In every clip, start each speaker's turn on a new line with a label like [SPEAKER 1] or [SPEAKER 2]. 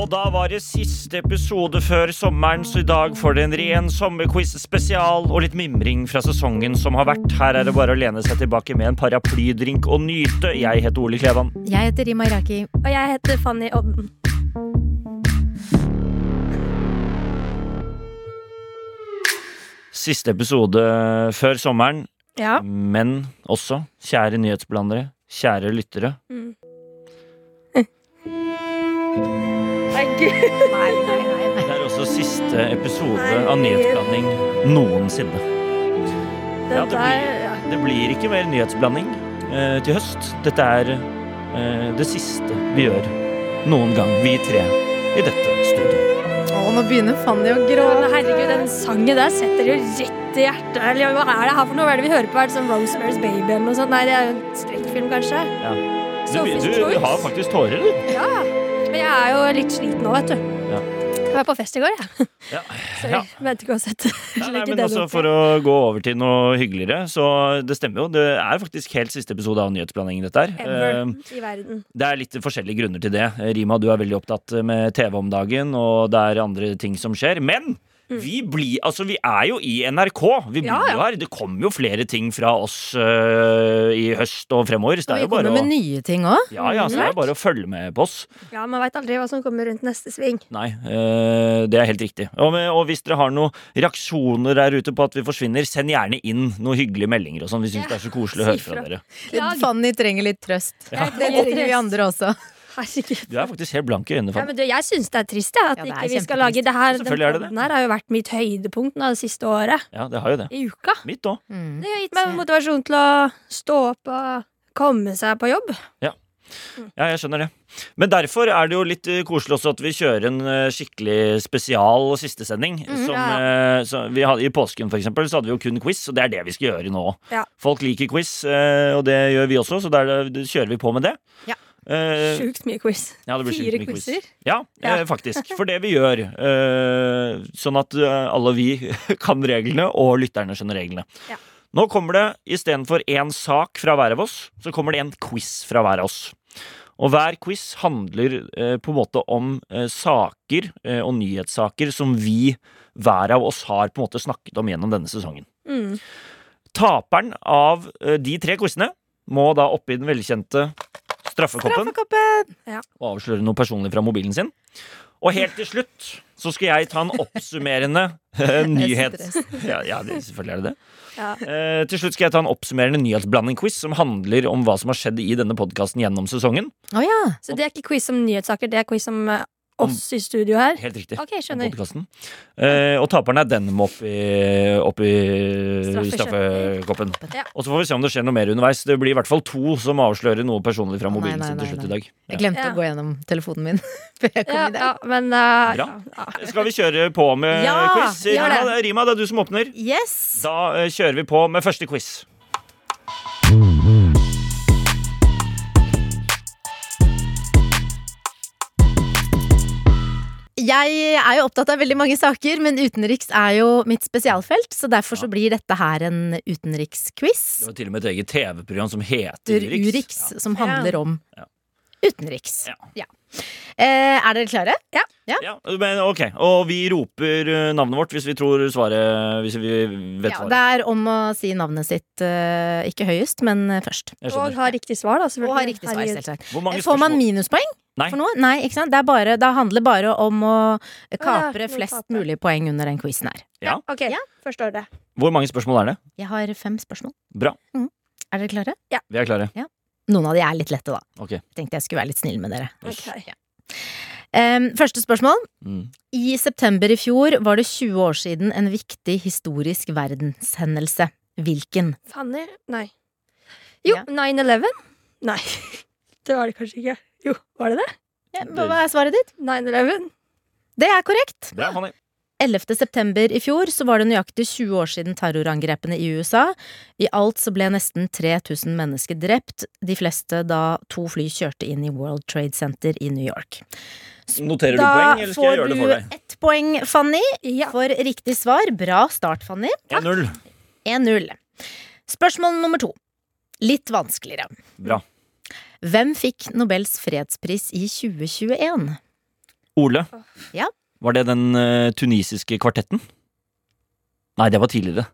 [SPEAKER 1] Og da var det siste episode før sommeren, så i dag får dere en ren sommerquiz spesial og litt mimring fra sesongen som har vært. Her er det bare å lene seg tilbake med en paraplydrink og nyte. Jeg heter Ole Klevan.
[SPEAKER 2] Jeg heter Rima Iraki.
[SPEAKER 3] Og jeg heter Fanny Odden.
[SPEAKER 1] Siste episode før sommeren,
[SPEAKER 3] Ja.
[SPEAKER 1] Mm. men også, kjære nyhetsblandere, kjære lyttere Det er også siste episode av nyhetsblanding noensinne. Ja,
[SPEAKER 3] Den
[SPEAKER 1] det
[SPEAKER 3] der,
[SPEAKER 1] blir-
[SPEAKER 3] ja.
[SPEAKER 1] Det blir ikke mer nyhetsblanding eh, til høst. Dette er eh, det siste vi gjør noen gang, vi tre, i dette studioet.
[SPEAKER 2] Å, nå begynner Fanny å
[SPEAKER 3] Men
[SPEAKER 2] gråte.
[SPEAKER 3] herregud, den sangen der setter jo rett i hjertet. Eller hva er det her for noe? Hva er det vi hører på? Er det sånn Rosemary's Baby eller noe sånt? Nei, det er jo en skrekkfilm, kanskje.
[SPEAKER 1] Ja. Du,
[SPEAKER 3] Sophie's
[SPEAKER 1] du, du
[SPEAKER 3] Choice.
[SPEAKER 1] har faktisk tårer, du.
[SPEAKER 3] Ja. Men jeg er jo litt sliten nå, vet du.
[SPEAKER 1] Ja.
[SPEAKER 3] Jeg var på fest i går, jeg.
[SPEAKER 1] Ja.
[SPEAKER 3] Sorry.
[SPEAKER 1] Ja.
[SPEAKER 3] Mente ikke å sette
[SPEAKER 1] Nei, nei,
[SPEAKER 3] legge
[SPEAKER 1] men
[SPEAKER 3] den
[SPEAKER 1] også
[SPEAKER 3] opp.
[SPEAKER 1] for å gå over til noe hyggeligere, så det stemmer jo. Det er faktisk helt siste episode av Nyhetsblandingen, dette her.
[SPEAKER 3] Ever
[SPEAKER 1] Eh,
[SPEAKER 3] i verden.
[SPEAKER 1] Det er litt forskjellige grunner til det. Eh, Rima, du er veldig opptatt eh, med TV om dagen, og det er andre ting som skjer. Men vi, blir, altså, vi er jo i NRK. Vi blir
[SPEAKER 3] Mm. Ja, ja.
[SPEAKER 1] jo her. Det kommer jo flere ting fra oss øh, i høst og fremover. Så det
[SPEAKER 2] Vi
[SPEAKER 1] er jo
[SPEAKER 2] kommer
[SPEAKER 1] bare å,
[SPEAKER 2] med nye ting òg.
[SPEAKER 1] ja, ja, så det er bare å følge med på oss.
[SPEAKER 3] Ja, man veit aldri hva som kommer rundt neste sving.
[SPEAKER 1] Nei, øh, det er helt riktig. Og, med, og hvis dere har noen reaksjoner der ute på at vi forsvinner, send gjerne inn noen hyggelige meldinger og sånn. Vi syns det
[SPEAKER 3] Ja,
[SPEAKER 1] er så koselig å høre
[SPEAKER 3] si
[SPEAKER 1] fra
[SPEAKER 3] fra.
[SPEAKER 1] dere.
[SPEAKER 3] Ja,
[SPEAKER 2] Fanny trenger litt trøst.
[SPEAKER 3] Jeg
[SPEAKER 2] Det
[SPEAKER 3] trenger
[SPEAKER 2] trenger vi
[SPEAKER 3] trøst.
[SPEAKER 2] andre også.
[SPEAKER 3] Herregud.
[SPEAKER 1] Du er faktisk helt blank i øynene.
[SPEAKER 3] Ja,
[SPEAKER 1] Fanny.
[SPEAKER 3] men du, jeg syns det er trist jeg, at
[SPEAKER 2] Ja, det er
[SPEAKER 3] ikke vi skal
[SPEAKER 2] kjempetrist.
[SPEAKER 3] lage det her.
[SPEAKER 1] Selvfølgelig er det
[SPEAKER 3] Den podden her har jo vært mitt høydepunkt nå, det siste året.
[SPEAKER 1] Ja, det har jo det.
[SPEAKER 3] I uka.
[SPEAKER 1] Mitt òg.
[SPEAKER 2] Mm.
[SPEAKER 3] Det har gitt meg motivasjon til å stå opp og komme seg på jobb.
[SPEAKER 1] Ja, jeg skjønner det. Men derfor er det jo litt eh, koselig også at vi kjører en eh, skikkelig spesial sistesending. som,
[SPEAKER 3] ja.
[SPEAKER 1] eh, så vi hadde, I påsken for eksempel, så hadde vi jo kun quiz, og det er det vi skal gjøre nå.
[SPEAKER 3] Ja.
[SPEAKER 1] Folk liker quiz, eh, og det gjør vi også, så der, eh, kjører vi på med det.
[SPEAKER 2] Ja.
[SPEAKER 1] Eh,
[SPEAKER 3] Sjukt mye quiz.
[SPEAKER 1] ja, det blir sjukt
[SPEAKER 2] Fire
[SPEAKER 1] mye quiz.
[SPEAKER 2] quizer?
[SPEAKER 1] Ja,
[SPEAKER 3] Ja.
[SPEAKER 1] eh, faktisk. For det vi gjør. eh, sånn at eh, alle vi kan reglene, og lytterne skjønner reglene.
[SPEAKER 3] Ja.
[SPEAKER 1] Nå kommer det istedenfor én sak fra hver av oss, så kommer det en quiz fra hver av oss. Og hver quiz handler eh, på en måte om eh, saker eh, og nyhetssaker som vi hver av oss har på en måte snakket om gjennom denne sesongen.
[SPEAKER 3] Mm.
[SPEAKER 1] Taperen av eh, de tre quizene må da oppi den velkjente straffekoppen og avsløre noe personlig fra mobilen sin. Og helt til slutt så skal jeg ta en oppsummerende eh, nyhet. Ja, ja det, selvfølgelig er det det.
[SPEAKER 3] Ja.
[SPEAKER 1] Eh, til slutt skal jeg ta en oppsummerende nyhetsblanding-quiz som handler om hva som har skjedd i denne podkasten gjennom sesongen.
[SPEAKER 2] Å ja.
[SPEAKER 3] Så det er ikke quiz om nyhetssaker, det er quiz om eh, oss i studio her.
[SPEAKER 1] Helt riktig.
[SPEAKER 3] Ok,
[SPEAKER 1] om
[SPEAKER 3] skjønner.
[SPEAKER 1] podcasten. Eh, og taperen er den må opp i, opp i
[SPEAKER 3] Straffeskjønner.
[SPEAKER 1] straffekoppen.
[SPEAKER 3] Ja.
[SPEAKER 1] Og så får vi se om det skjer noe mer underveis. Det blir i hvert fall to som avslører noe personlig fra
[SPEAKER 2] Å, nei,
[SPEAKER 1] mobilen
[SPEAKER 2] nei,
[SPEAKER 1] sin til
[SPEAKER 2] nei,
[SPEAKER 1] slutt i
[SPEAKER 2] nei.
[SPEAKER 1] dag. Ja.
[SPEAKER 2] Jeg glemte
[SPEAKER 3] Ja.
[SPEAKER 2] å gå gjennom telefonen min før jeg kom
[SPEAKER 3] Ja,
[SPEAKER 2] i
[SPEAKER 3] ja,
[SPEAKER 2] dag.
[SPEAKER 3] men eh, ja,
[SPEAKER 1] Bra.
[SPEAKER 3] ja.
[SPEAKER 1] Skal vi kjøre på med
[SPEAKER 2] Ja,
[SPEAKER 1] quiz?
[SPEAKER 2] gjør
[SPEAKER 1] Rima,
[SPEAKER 2] det.
[SPEAKER 1] det er- Rima, det er du som åpner.
[SPEAKER 2] Yes!
[SPEAKER 1] Da eh, kjører vi på med første quiz.
[SPEAKER 2] Jeg er jo opptatt av veldig mange saker, men utenriks er jo mitt spesialfelt, så derfor så blir dette her en utenriksquiz.
[SPEAKER 1] Det var til og med et eget TV-program som heter
[SPEAKER 2] heter
[SPEAKER 1] Urix.
[SPEAKER 2] Urix,
[SPEAKER 1] Ja.
[SPEAKER 2] som handler om
[SPEAKER 1] Ja.
[SPEAKER 2] utenriks.
[SPEAKER 1] Ja.
[SPEAKER 2] Eh, er dere klare?
[SPEAKER 1] Ja, men ok, Og vi roper eh, navnet vårt hvis vi tror svaret Hvis vi vet
[SPEAKER 2] Ja, det
[SPEAKER 1] svaret.
[SPEAKER 2] er om å si navnet sitt eh, ikke høyest, men først.
[SPEAKER 1] Jeg
[SPEAKER 3] Og
[SPEAKER 1] skjønner.
[SPEAKER 3] har riktig svar, da.
[SPEAKER 2] Og
[SPEAKER 3] selvfølgelig.
[SPEAKER 2] ha riktig svar,
[SPEAKER 3] Herregud.
[SPEAKER 2] selvsagt.
[SPEAKER 1] Hvor mange
[SPEAKER 2] Får man
[SPEAKER 1] spørsmål?
[SPEAKER 2] minuspoeng
[SPEAKER 1] Nei.
[SPEAKER 2] for noe? Nei, ikke sant? Det er bare, da handler det bare om å kapre
[SPEAKER 3] ja, må
[SPEAKER 2] flest
[SPEAKER 3] kapre.
[SPEAKER 2] mulig poeng under den quizen her.
[SPEAKER 1] Ja.
[SPEAKER 3] Ok,
[SPEAKER 2] Ja.
[SPEAKER 3] forstår det.
[SPEAKER 1] Hvor mange spørsmål er det?
[SPEAKER 2] Jeg har fem spørsmål.
[SPEAKER 1] Bra.
[SPEAKER 2] Mm. Er dere klare?
[SPEAKER 1] Vi er klare.
[SPEAKER 2] Noen av de er litt lette, da.
[SPEAKER 1] Ok.
[SPEAKER 2] Jeg tenkte jeg skulle være litt snill med dere.
[SPEAKER 1] Yes.
[SPEAKER 3] Ok.
[SPEAKER 2] Ja. Em, første spørsmål.
[SPEAKER 1] Mm.
[SPEAKER 2] I september i fjor var det 20 år siden en viktig historisk verdenshendelse. Hvilken?
[SPEAKER 3] Fanny? Nei. Jo,
[SPEAKER 2] Ja.
[SPEAKER 3] 9-11? Nei. Det var det kanskje ikke. Jo, var det det?
[SPEAKER 2] Hva er svaret ditt?
[SPEAKER 3] 9-11?
[SPEAKER 2] Det er korrekt.
[SPEAKER 1] Bra, Fanny.
[SPEAKER 2] 11. september i fjor så var det nøyaktig 20 år siden terrorangrepene i USA. I alt så ble nesten 3000 mennesker drept, de fleste da to fly kjørte inn i World Trade Center i New York.
[SPEAKER 1] Noterer du
[SPEAKER 2] Da
[SPEAKER 1] poeng, eller skal jeg gjøre det for deg?
[SPEAKER 2] får du ett poeng, Fanny,
[SPEAKER 3] Ja.
[SPEAKER 2] for riktig svar. Bra start, Fanny.
[SPEAKER 1] 1-0.
[SPEAKER 2] 1-0. Spørsmål nummer to. Litt vanskeligere.
[SPEAKER 1] Bra.
[SPEAKER 2] Hvem fikk Nobels fredspris i 2021?
[SPEAKER 1] Ole.
[SPEAKER 2] Ja.
[SPEAKER 1] Var det den eh, tunisiske kvartetten? Nei, det var tidligere.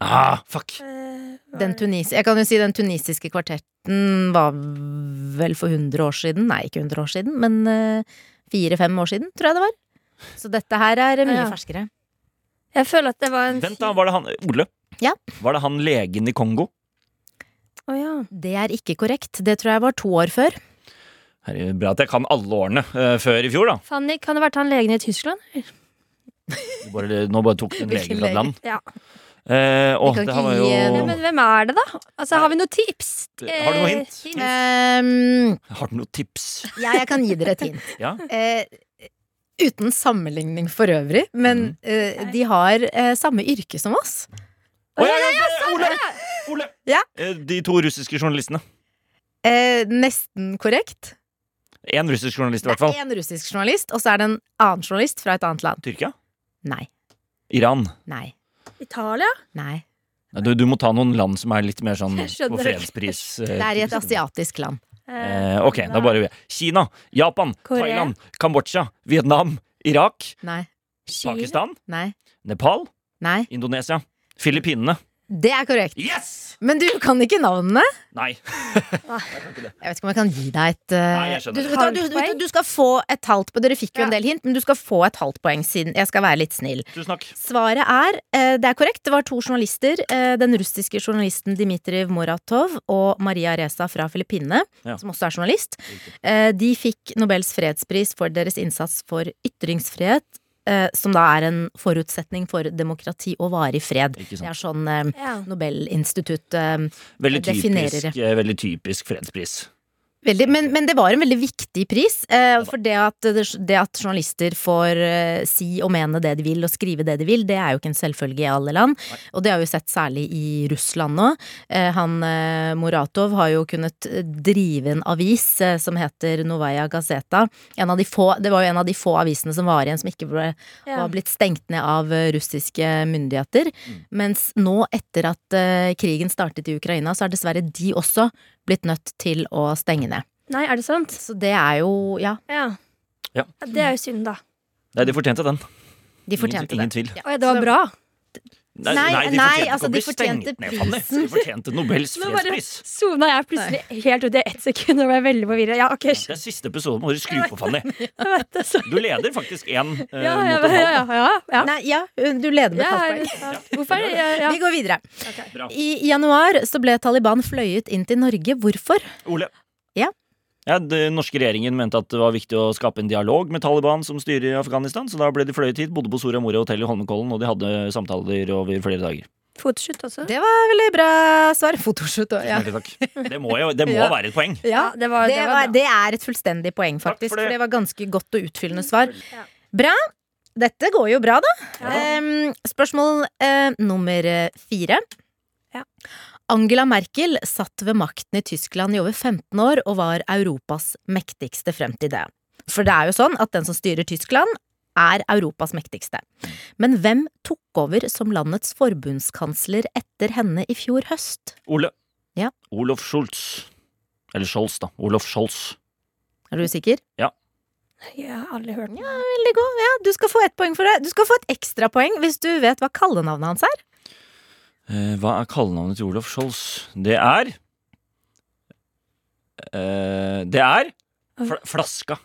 [SPEAKER 1] Ah, fuck.
[SPEAKER 3] Eh,
[SPEAKER 2] Den tunis jeg kan jo si den tunisiske kvartetten var vel for 100 år siden. Nei, ikke 100 år siden, men eh, fire-fem år siden, tror jeg det var. Så dette her er mye
[SPEAKER 3] Ja.
[SPEAKER 2] ferskere.
[SPEAKER 3] Jeg føler at det var en
[SPEAKER 1] Vent, da. Var det han Ole?
[SPEAKER 2] Ja.
[SPEAKER 1] Var det han legen i Kongo?
[SPEAKER 3] Å ja.
[SPEAKER 2] Det er ikke korrekt. Det tror jeg var to år før.
[SPEAKER 1] Herre, bra at jeg kan alle årene eh, før i fjor, da.
[SPEAKER 3] Fanny, kan det ha vært han legen i Tyskland?
[SPEAKER 1] Du Bare, nå bare tok du en lege
[SPEAKER 2] Hvilken
[SPEAKER 1] fra et
[SPEAKER 2] lege?
[SPEAKER 1] land.
[SPEAKER 3] Ja.
[SPEAKER 1] Eh, å,
[SPEAKER 2] Vi
[SPEAKER 1] det
[SPEAKER 2] kan ikke
[SPEAKER 1] her var
[SPEAKER 2] gi-
[SPEAKER 1] jo
[SPEAKER 2] Nei,
[SPEAKER 3] Ja, men hvem er det, da? Altså, Har vi noen tips?
[SPEAKER 1] Har du noe hint?
[SPEAKER 3] Eh,
[SPEAKER 2] Ehm,
[SPEAKER 1] Har du noen tips?
[SPEAKER 2] ja, jeg kan gi dere et hint.
[SPEAKER 1] Ja.
[SPEAKER 2] Eh, uten sammenligning for øvrig, men
[SPEAKER 1] Mm.
[SPEAKER 2] eh, de har eh, samme yrke som oss.
[SPEAKER 1] Å, ja, ja, ja, Ole! Ole!
[SPEAKER 2] Ja.
[SPEAKER 1] Eh, De to russiske journalistene.
[SPEAKER 2] Eh, nesten korrekt.
[SPEAKER 1] Én russisk journalist, i
[SPEAKER 2] Det
[SPEAKER 1] hvert fall.
[SPEAKER 2] er én russisk journalist, og så er det en annen journalist fra et annet land.
[SPEAKER 1] Tyrkia?
[SPEAKER 2] Nei.
[SPEAKER 1] Iran?
[SPEAKER 2] Nei.
[SPEAKER 3] Italia?
[SPEAKER 2] Nei.
[SPEAKER 1] Nei, Du, du må ta noen land som er litt mer sånn
[SPEAKER 3] Jeg skjønner
[SPEAKER 1] på fredspris. eh,
[SPEAKER 2] Det er i et
[SPEAKER 1] typisk.
[SPEAKER 2] asiatisk land.
[SPEAKER 1] Eh, ok, da bare vi. Kina, Japan,
[SPEAKER 3] Korea.
[SPEAKER 1] Thailand, Kambodsja, Vietnam, Irak,
[SPEAKER 2] Nei.
[SPEAKER 3] Chile?
[SPEAKER 1] Pakistan,
[SPEAKER 2] Nei.
[SPEAKER 1] Nepal,
[SPEAKER 2] Nei.
[SPEAKER 1] Indonesia, Filippinene.
[SPEAKER 2] Det er korrekt.
[SPEAKER 1] Yes!
[SPEAKER 2] Men du kan ikke navnene.
[SPEAKER 1] Nei.
[SPEAKER 2] Jeg vet ikke om jeg kan gi deg et eh,
[SPEAKER 1] Nei, jeg skjønner.
[SPEAKER 2] du, vet du hva, du, vet du, du skal få et halvt poeng. Dere fikk jo en
[SPEAKER 3] Ja.
[SPEAKER 2] del hint, men du skal få et halvt poeng siden jeg skal være litt snill.
[SPEAKER 1] Tusen takk.
[SPEAKER 2] Svaret er eh, Det er korrekt. Det var to journalister. eh, Den russiske journalisten Dmitriv Moratov og Maria Reza fra Filippinene,
[SPEAKER 1] Ja.
[SPEAKER 2] som også er journalist. Eh, De fikk Nobels fredspris for deres innsats for ytringsfrihet, eh, som da er en forutsetning for demokrati og varig fred.
[SPEAKER 1] Ikke
[SPEAKER 2] Det
[SPEAKER 1] sant.
[SPEAKER 2] er sånn eh,
[SPEAKER 3] Ja.
[SPEAKER 2] Nobelinstitutt eh,
[SPEAKER 1] Veldig
[SPEAKER 2] Jeg
[SPEAKER 1] typisk,
[SPEAKER 2] definerer.
[SPEAKER 1] eh, veldig typisk fredspris.
[SPEAKER 2] Veldig, men, men det var en veldig viktig pris. Eh, for det at, det at journalister får eh, si og mene det de vil, og skrive det de vil, det er jo ikke en selvfølge i alle land. Og det har vi sett særlig i Russland nå. Eh, han eh, Muratov har jo kunnet eh, drive en avis eh, som heter Novaja Gazeta. En av de få, det var jo en av de få avisene som var igjen som ikke ble
[SPEAKER 3] Ja.
[SPEAKER 2] var blitt stengt ned av eh, russiske myndigheter. Mens nå, etter at eh, krigen startet i Ukraina, så er dessverre de også blitt nødt til å stenge ned.
[SPEAKER 3] Nei, er det sant?
[SPEAKER 2] Så det er jo Ja,
[SPEAKER 3] Ja.
[SPEAKER 1] Ja.
[SPEAKER 3] Det er jo synd, da.
[SPEAKER 1] Nei, de fortjente den.
[SPEAKER 2] de fortjente
[SPEAKER 1] ingen, ingen
[SPEAKER 2] det.
[SPEAKER 1] tvil.
[SPEAKER 2] Ja,
[SPEAKER 3] Å ja, det var
[SPEAKER 2] så-
[SPEAKER 3] bra.
[SPEAKER 1] Nei,
[SPEAKER 2] Nei,
[SPEAKER 1] de
[SPEAKER 2] nei,
[SPEAKER 1] fortjente ikke
[SPEAKER 2] altså,
[SPEAKER 1] å
[SPEAKER 2] de
[SPEAKER 1] bli stengt
[SPEAKER 2] fortjente
[SPEAKER 1] ned, Fanny. De
[SPEAKER 2] prisen.
[SPEAKER 1] fortjente Nobels
[SPEAKER 3] Nå bare
[SPEAKER 1] fredspris.
[SPEAKER 3] sona jeg plutselig helt ut i ett sekund og ble veldig forvirra. Ja, ok,
[SPEAKER 1] Det er siste episode, må du skru på, Fanny.
[SPEAKER 3] jeg vet det, så.
[SPEAKER 1] Du leder faktisk én eh,
[SPEAKER 3] Ja, ja,
[SPEAKER 1] mot en
[SPEAKER 3] ja,
[SPEAKER 1] halv.
[SPEAKER 3] ja, ja, ja.
[SPEAKER 2] Nei, ja, du leder med et
[SPEAKER 3] Ja,
[SPEAKER 2] halvt
[SPEAKER 3] er
[SPEAKER 2] poeng.
[SPEAKER 3] det sant? Hvorfor? Ja, ja.
[SPEAKER 2] Vi går videre.
[SPEAKER 3] Ok.
[SPEAKER 1] Bra.
[SPEAKER 2] I januar så ble Taliban fløyet inn til Norge. Hvorfor?
[SPEAKER 1] Ole.
[SPEAKER 2] Ja.
[SPEAKER 1] Ja, Den norske regjeringen mente at det var viktig å skape en dialog med Taliban, som styrer i Afghanistan, så da ble de fløyet hit, bodde på Soria Moria hotell i Holmenkollen, og de hadde samtaler over flere dager.
[SPEAKER 3] Fotoshoot også.
[SPEAKER 2] Det var veldig bra svar. Fotoshoot og ja.
[SPEAKER 1] Tusen hjertelig Takk. Det må jo det må
[SPEAKER 2] Ja.
[SPEAKER 1] være et poeng.
[SPEAKER 2] ja.
[SPEAKER 3] det var,
[SPEAKER 2] Det, var, det er et fullstendig poeng,
[SPEAKER 1] Takk for
[SPEAKER 2] faktisk. For
[SPEAKER 1] det.
[SPEAKER 2] det. var ganske godt og utfyllende svar.
[SPEAKER 3] Ja.
[SPEAKER 2] Bra. Dette går jo bra, da.
[SPEAKER 3] Ja.
[SPEAKER 2] Ehm, spørsmål eh, nummer eh, fire.
[SPEAKER 3] Ja.
[SPEAKER 2] Angela Merkel satt ved makten i Tyskland i over 15 år og var Europas mektigste frem til det. For det er jo sånn at den som styrer Tyskland, er Europas mektigste. Men hvem tok over som landets forbundskansler etter henne i fjor høst?
[SPEAKER 1] Ole.
[SPEAKER 2] Ja.
[SPEAKER 1] Olof Scholz. Eller Scholz, da. Olof Scholz.
[SPEAKER 2] Er du sikker?
[SPEAKER 3] Jeg har aldri hørt den.
[SPEAKER 2] Veldig god. Ja, du skal få ett poeng for det. Du skal få et ekstrapoeng hvis du vet hva kallenavnet hans er.
[SPEAKER 1] Eh, hva er kallenavnet til Olof Scholz? Det er eh, Det er fla Flaska.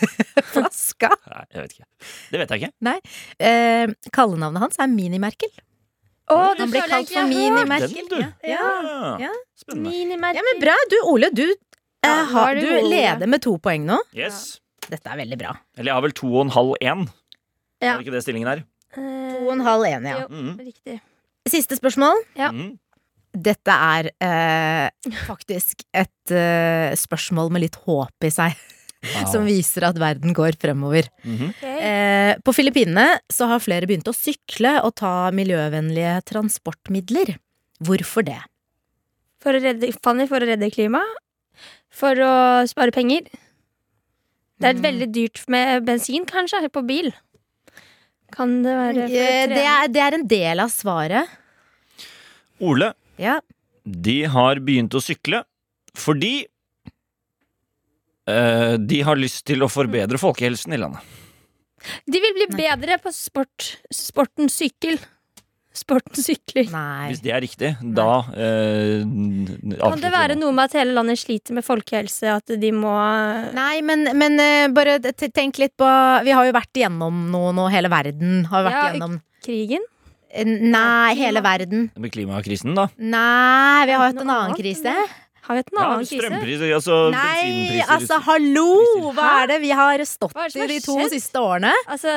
[SPEAKER 2] Flaska.
[SPEAKER 1] Nei, jeg vet ikke. Det vet jeg ikke.
[SPEAKER 2] Eh, kallenavnet hans er Mini-Merkel.
[SPEAKER 3] Å, det
[SPEAKER 2] Han ble
[SPEAKER 3] føler jeg
[SPEAKER 2] kalt
[SPEAKER 3] ikke
[SPEAKER 2] for
[SPEAKER 3] jeg har hørt.
[SPEAKER 2] Mini-Merkel.
[SPEAKER 1] Den, du.
[SPEAKER 2] Ja.
[SPEAKER 1] Ja.
[SPEAKER 2] ja.
[SPEAKER 1] Spennende.
[SPEAKER 2] ja,
[SPEAKER 3] Minimerker.
[SPEAKER 2] men bra. Du, Ole, du,
[SPEAKER 3] Ja,
[SPEAKER 2] eh, har,
[SPEAKER 3] da er
[SPEAKER 2] du
[SPEAKER 3] du god, Ole.
[SPEAKER 2] leder med to poeng nå.
[SPEAKER 1] Yes.
[SPEAKER 2] Dette er veldig bra.
[SPEAKER 1] Eller jeg har vel to og en halv én. Er
[SPEAKER 3] Ja.
[SPEAKER 1] det ikke det stillingen er?
[SPEAKER 3] Eh,
[SPEAKER 2] To og en halv en, ja.
[SPEAKER 3] Jo,
[SPEAKER 1] Mhm.
[SPEAKER 3] riktig.
[SPEAKER 2] Siste spørsmål.
[SPEAKER 3] Ja.
[SPEAKER 1] Mhm.
[SPEAKER 2] Dette er eh, faktisk et eh, spørsmål med litt håp i seg. som viser at verden går fremover.
[SPEAKER 1] Mhm.
[SPEAKER 3] Ok.
[SPEAKER 2] Eh, på Filippinene så har flere begynt å sykle og ta miljøvennlige transportmidler. Hvorfor det?
[SPEAKER 3] For å redde Fanny, for å redde klimaet. For å spare penger. Det er
[SPEAKER 2] Mm.
[SPEAKER 3] veldig dyrt med bensin, kanskje, på bil. Kan det være for å
[SPEAKER 2] Eh, Det
[SPEAKER 3] trene?
[SPEAKER 2] er, det er en del av svaret.
[SPEAKER 1] Ole,
[SPEAKER 2] Ja.
[SPEAKER 1] de har begynt å sykle fordi eh, de har lyst til å forbedre folkehelsen i landet.
[SPEAKER 3] De vil bli
[SPEAKER 2] Nei.
[SPEAKER 3] bedre på sport, sporten sykkel. Sporten sykler.
[SPEAKER 2] Nei.
[SPEAKER 1] Hvis det er riktig, da eh,
[SPEAKER 3] Kan det
[SPEAKER 1] avslutter
[SPEAKER 3] være
[SPEAKER 1] vi nå.
[SPEAKER 3] noe med at hele landet sliter med folkehelse, at de må
[SPEAKER 2] Nei, men, men eh, bare t- tenk litt på Vi har jo vært igjennom noe nå, hele verden har vært
[SPEAKER 3] Ja,
[SPEAKER 2] igjennom
[SPEAKER 3] Krigen?
[SPEAKER 2] Eh, Nei, hele verden.
[SPEAKER 1] Med klimakrisen, da?
[SPEAKER 2] Nei, vi har hatt
[SPEAKER 3] Noe
[SPEAKER 2] en annen
[SPEAKER 3] annet,
[SPEAKER 2] krise.
[SPEAKER 3] eller? Har vi hatt en
[SPEAKER 1] Ja,
[SPEAKER 3] annen krise?
[SPEAKER 1] strømpriser, altså
[SPEAKER 2] Nei,
[SPEAKER 1] bensinpriser.
[SPEAKER 2] altså hallo! Hva
[SPEAKER 3] Hæ?
[SPEAKER 2] er det vi har stått
[SPEAKER 3] Hva er det
[SPEAKER 2] i
[SPEAKER 3] som har
[SPEAKER 2] de to
[SPEAKER 3] skjedd?
[SPEAKER 2] siste årene?
[SPEAKER 3] Altså